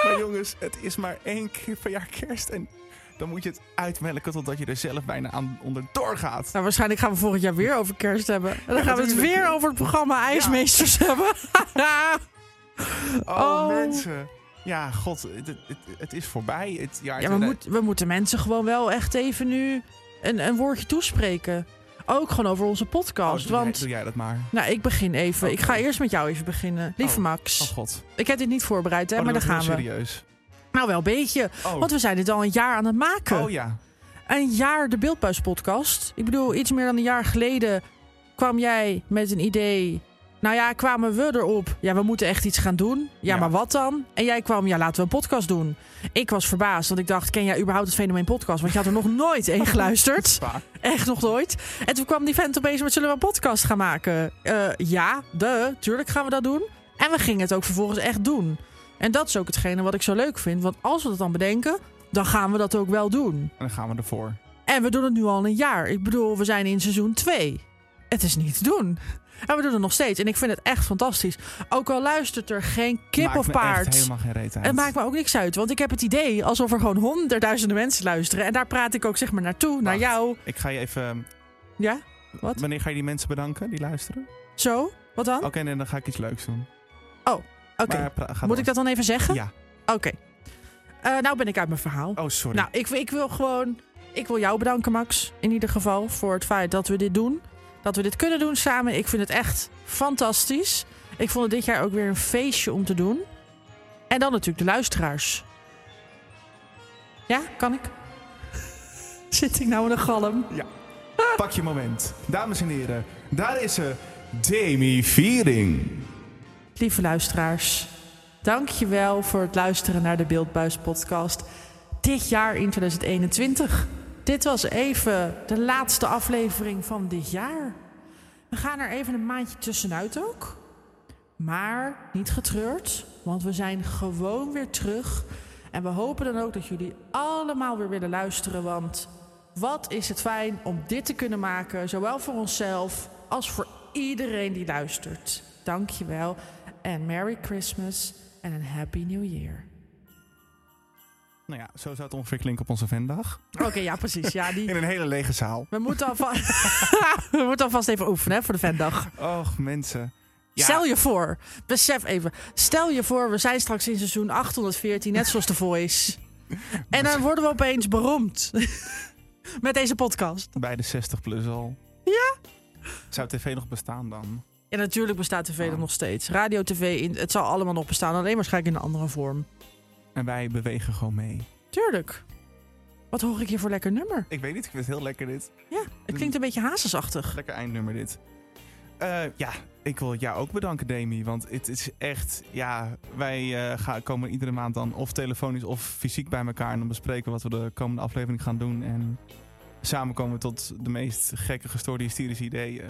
Speaker 1: maar jongens, het is maar één keer per jaar kerst. En dan moet je het uitmelken totdat je er zelf bijna aan onderdoor gaat.
Speaker 2: Nou, waarschijnlijk gaan we volgend jaar weer over kerst hebben. En dan
Speaker 1: Ja,
Speaker 2: gaan we het
Speaker 1: natuurlijk.
Speaker 2: weer over het programma IJsmeesters hebben.
Speaker 1: Oh,
Speaker 2: Oh.
Speaker 1: mensen. Ja, god, het, het- het is voorbij. Het jaar
Speaker 2: Ja, we, moet, we moeten mensen gewoon wel echt even nu een, een woordje toespreken. Ook gewoon over onze
Speaker 1: Oh,
Speaker 2: podcast.
Speaker 1: doe, jij,
Speaker 2: want,
Speaker 1: doe jij dat maar.
Speaker 2: nou, ik begin even. Ik
Speaker 1: Oké.
Speaker 2: ga eerst met jou even beginnen. Lieve
Speaker 1: Oh.
Speaker 2: Max,
Speaker 1: Oh god.
Speaker 2: ik heb dit niet voorbereid, hè,
Speaker 1: Oh,
Speaker 2: maar daar
Speaker 1: dat
Speaker 2: gaan
Speaker 1: wordt
Speaker 2: we.
Speaker 1: heel serieus.
Speaker 2: Nou, wel een beetje.
Speaker 1: Oh.
Speaker 2: Want we zijn dit al een jaar aan het maken.
Speaker 1: oh ja.
Speaker 2: Een jaar de Beeldbuis podcast. Ik bedoel, iets meer dan een jaar geleden kwam jij met een idee. Nou ja, kwamen we erop. Ja, we moeten echt iets gaan doen. Ja,
Speaker 1: Ja.
Speaker 2: maar wat dan? En jij kwam, ja, laten we een podcast doen. Ik was verbaasd, want ik dacht, ken jij überhaupt het fenomeen podcast? Want je had er nog nooit één geluisterd.
Speaker 1: Waar.
Speaker 2: Echt nog nooit. En toen kwam die vent opeens met, zullen we een podcast gaan maken? Eh, ja, de, tuurlijk gaan we dat doen. En we gingen het ook vervolgens echt doen. En dat is ook hetgene wat ik zo leuk vind. Want als we dat dan bedenken, dan gaan we dat ook wel doen.
Speaker 1: En dan gaan we ervoor.
Speaker 2: En we doen het nu al een jaar. Ik bedoel, we zijn in seizoen 2. Het is niet te doen. En we doen het nog steeds. En ik vind het echt fantastisch. Ook al luistert er geen kip
Speaker 1: Maakt
Speaker 2: of
Speaker 1: me
Speaker 2: paard.
Speaker 1: Echt helemaal geen reet uit.
Speaker 2: Het maakt me ook niks uit. Want ik heb het idee alsof er gewoon honderdduizenden mensen luisteren. En daar praat ik ook zeg maar naartoe, naar
Speaker 1: Wacht.
Speaker 2: jou.
Speaker 1: Ik ga je even...
Speaker 2: Ja? Wat? Oh.
Speaker 1: Wanneer ga je die mensen bedanken die luisteren? Oké,
Speaker 2: Zo? Wat dan? Oké.
Speaker 1: en dan ga ik iets leuks doen. Oh, Maar pra- ga
Speaker 2: Moet ik
Speaker 1: door.
Speaker 2: dat dan even zeggen?
Speaker 1: Ja.
Speaker 2: Oké. Eh, nou ben ik uit mijn verhaal.
Speaker 1: Oh, sorry.
Speaker 2: Nou, ik, ik wil gewoon. Ik wil jou bedanken, Max. In ieder geval voor het feit dat we dit doen. Dat we dit kunnen doen samen. Ik vind het echt fantastisch. Ik vond het dit jaar ook weer een feestje om te doen. En dan natuurlijk de luisteraars. Ja, kan ik? Zit ik nou in een galm?
Speaker 1: Pak je moment. Dames en heren, daar is ze. Demi Viering.
Speaker 2: Lieve luisteraars, dankjewel voor het luisteren naar de Beeldbuis podcast. Dit jaar in 2021. Dit was even de laatste aflevering van dit jaar. We gaan er even een maandje tussenuit ook. Maar niet getreurd, want we zijn gewoon weer terug. En we hopen dan ook dat jullie allemaal weer willen luisteren. Want wat is het fijn om dit te kunnen maken, zowel voor onszelf als voor iedereen die luistert. Dankjewel en Merry Christmas en een Happy New Year.
Speaker 1: Nou ja, zo zou het ongeveer klinken op onze vendag.
Speaker 2: Oké, ja precies. Ja, die...
Speaker 1: In een hele lege zaal.
Speaker 2: We moeten, alvast... we moeten alvast even oefenen hè, voor de vendag.
Speaker 1: Och, mensen. Ja,
Speaker 2: Stel je voor, besef even. Stel je voor, we zijn straks in seizoen 814, net zoals The Voice. En dan worden we opeens beroemd. Met deze podcast.
Speaker 1: bij de 60 plus al. Ja. Zou tv nog bestaan dan?
Speaker 2: Ja, natuurlijk bestaat tv
Speaker 1: Ah.
Speaker 2: er nog steeds. Radio, tv, in, het zal allemaal nog bestaan. Alleen waarschijnlijk in een andere vorm.
Speaker 1: En wij bewegen gewoon mee.
Speaker 2: Tuurlijk. Wat hoor ik hier voor lekker nummer?
Speaker 1: Ik weet niet, ik vind het heel lekker dit.
Speaker 2: Ja, het klinkt een beetje hazesachtig.
Speaker 1: Lekker eindnummer dit. Eh, ja, ik wil jou ook bedanken, Demi. Want het is echt, ja, wij eh, gaan, komen iedere maand dan of telefonisch of fysiek bij elkaar. En dan bespreken we wat we de komende aflevering gaan doen. En samen komen we tot de meest gekke, gestoorde, hysterische ideeën.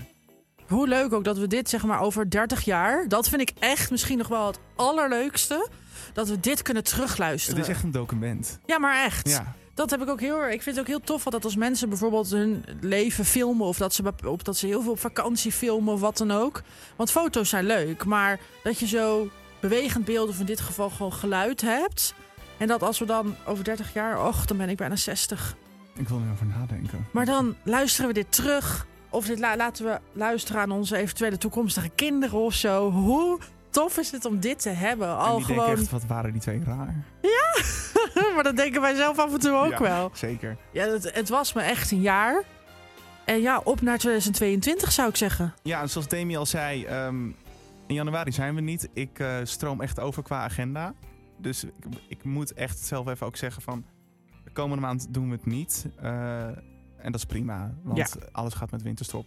Speaker 2: Hoe leuk ook dat we dit zeg maar over 30 jaar... Dat vind ik echt misschien nog wel het allerleukste. Dat we dit kunnen
Speaker 1: Het
Speaker 2: terugluisteren.
Speaker 1: is echt een document.
Speaker 2: Ja, maar echt.
Speaker 1: Ja,
Speaker 2: Dat heb ik ook heel erg. Ik vind het ook heel tof dat als mensen bijvoorbeeld hun leven filmen. of dat ze, bep- op, dat ze heel veel op vakantie filmen of wat dan ook. Want foto's zijn leuk. Maar dat je zo bewegend beeld of in dit geval gewoon geluid hebt. En dat als we dan over 30 jaar. och, dan ben ik bijna 60.
Speaker 1: ik wil er over nadenken.
Speaker 2: Maar dan luisteren we dit terug. Of dit la- laten we luisteren aan onze eventuele toekomstige kinderen of zo. Hoe tof is het om dit te hebben?
Speaker 1: en
Speaker 2: Al
Speaker 1: die denken
Speaker 2: gewoon.
Speaker 1: echt, wat waren die twee raar.
Speaker 2: maar dat denken wij zelf af en toe ook
Speaker 1: Ja,
Speaker 2: wel.
Speaker 1: Zeker.
Speaker 2: Ja, het, het was me echt een jaar. En ja, op naar 2022 zou ik zeggen.
Speaker 1: Ja, en zoals Demi al zei, ehm, in januari zijn we niet. Ik eh, stroom echt over qua agenda. Dus ik, ik moet echt zelf even ook zeggen van... De komende maand doen we het niet. Eh, en dat is prima, want alles gaat met winterstop.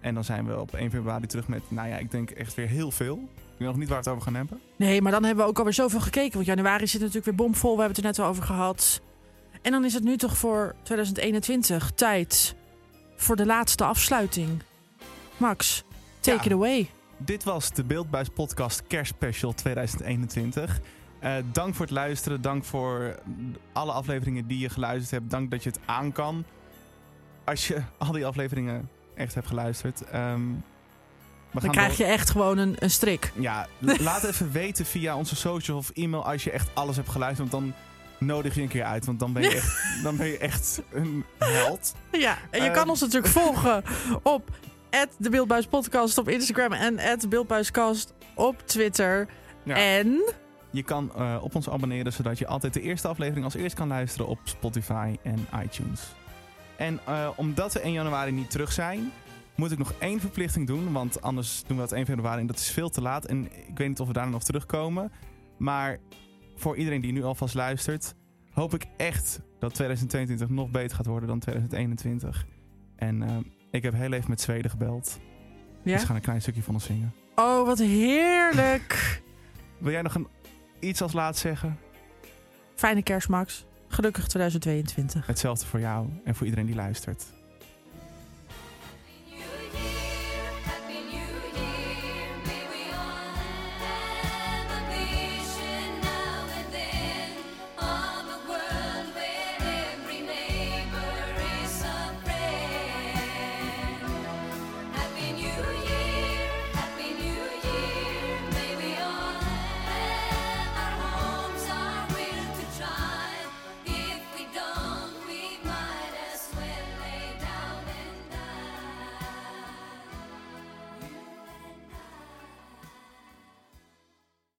Speaker 1: En dan zijn we op 1 februari terug met, nou ja, ik denk echt weer heel veel. Ik weet nog niet waar we het over gaan hebben.
Speaker 2: Nee, maar dan hebben we ook alweer zoveel gekeken. Want januari zit natuurlijk weer bomvol. We hebben het er net al over gehad. En dan is het nu toch voor 2021 tijd voor de laatste afsluiting. Max, take
Speaker 1: Ja.
Speaker 2: it away.
Speaker 1: Dit was de Beeldbuis Podcast Kerstspecial 2021. Eh, dank voor het luisteren. Dank voor alle afleveringen die je geluisterd hebt. Dank dat je het aan kan. Als je al die afleveringen echt hebt geluisterd. Ehm, we
Speaker 2: Dan krijg je echt gewoon een, een strik.
Speaker 1: Ja, la- laat even weten via onze social of e-mail als je echt alles hebt geluisterd. Want dan nodig je een keer uit. Want dan ben je echt, dan ben je echt een held.
Speaker 2: Ja, en je
Speaker 1: Ehm.
Speaker 2: kan ons natuurlijk volgen op de Beeldbuis Podcast op Instagram en de Beeldbuiscast op Twitter.
Speaker 1: Ja.
Speaker 2: En
Speaker 1: Je kan eh, op ons abonneren, zodat je altijd de eerste aflevering als eerst kan luisteren op Spotify en iTunes. En eh, omdat we 1 januari niet terug zijn, moet ik nog één verplichting doen. Want anders doen we dat 1 februari en dat is veel te laat. En ik weet niet of we daar nog terugkomen. Maar voor iedereen die nu alvast luistert, hoop ik echt dat 2022 nog beter gaat worden dan 2021. En eh, ik heb heel even met Zweden gebeld.
Speaker 2: ja.
Speaker 1: Ze gaan een klein stukje van ons zingen.
Speaker 2: Oh, wat heerlijk.
Speaker 1: Wil jij nog een, iets als laat zeggen?
Speaker 2: Fijne kerst, Max. Gelukkig 2022.
Speaker 1: Hetzelfde voor jou en voor iedereen die luistert.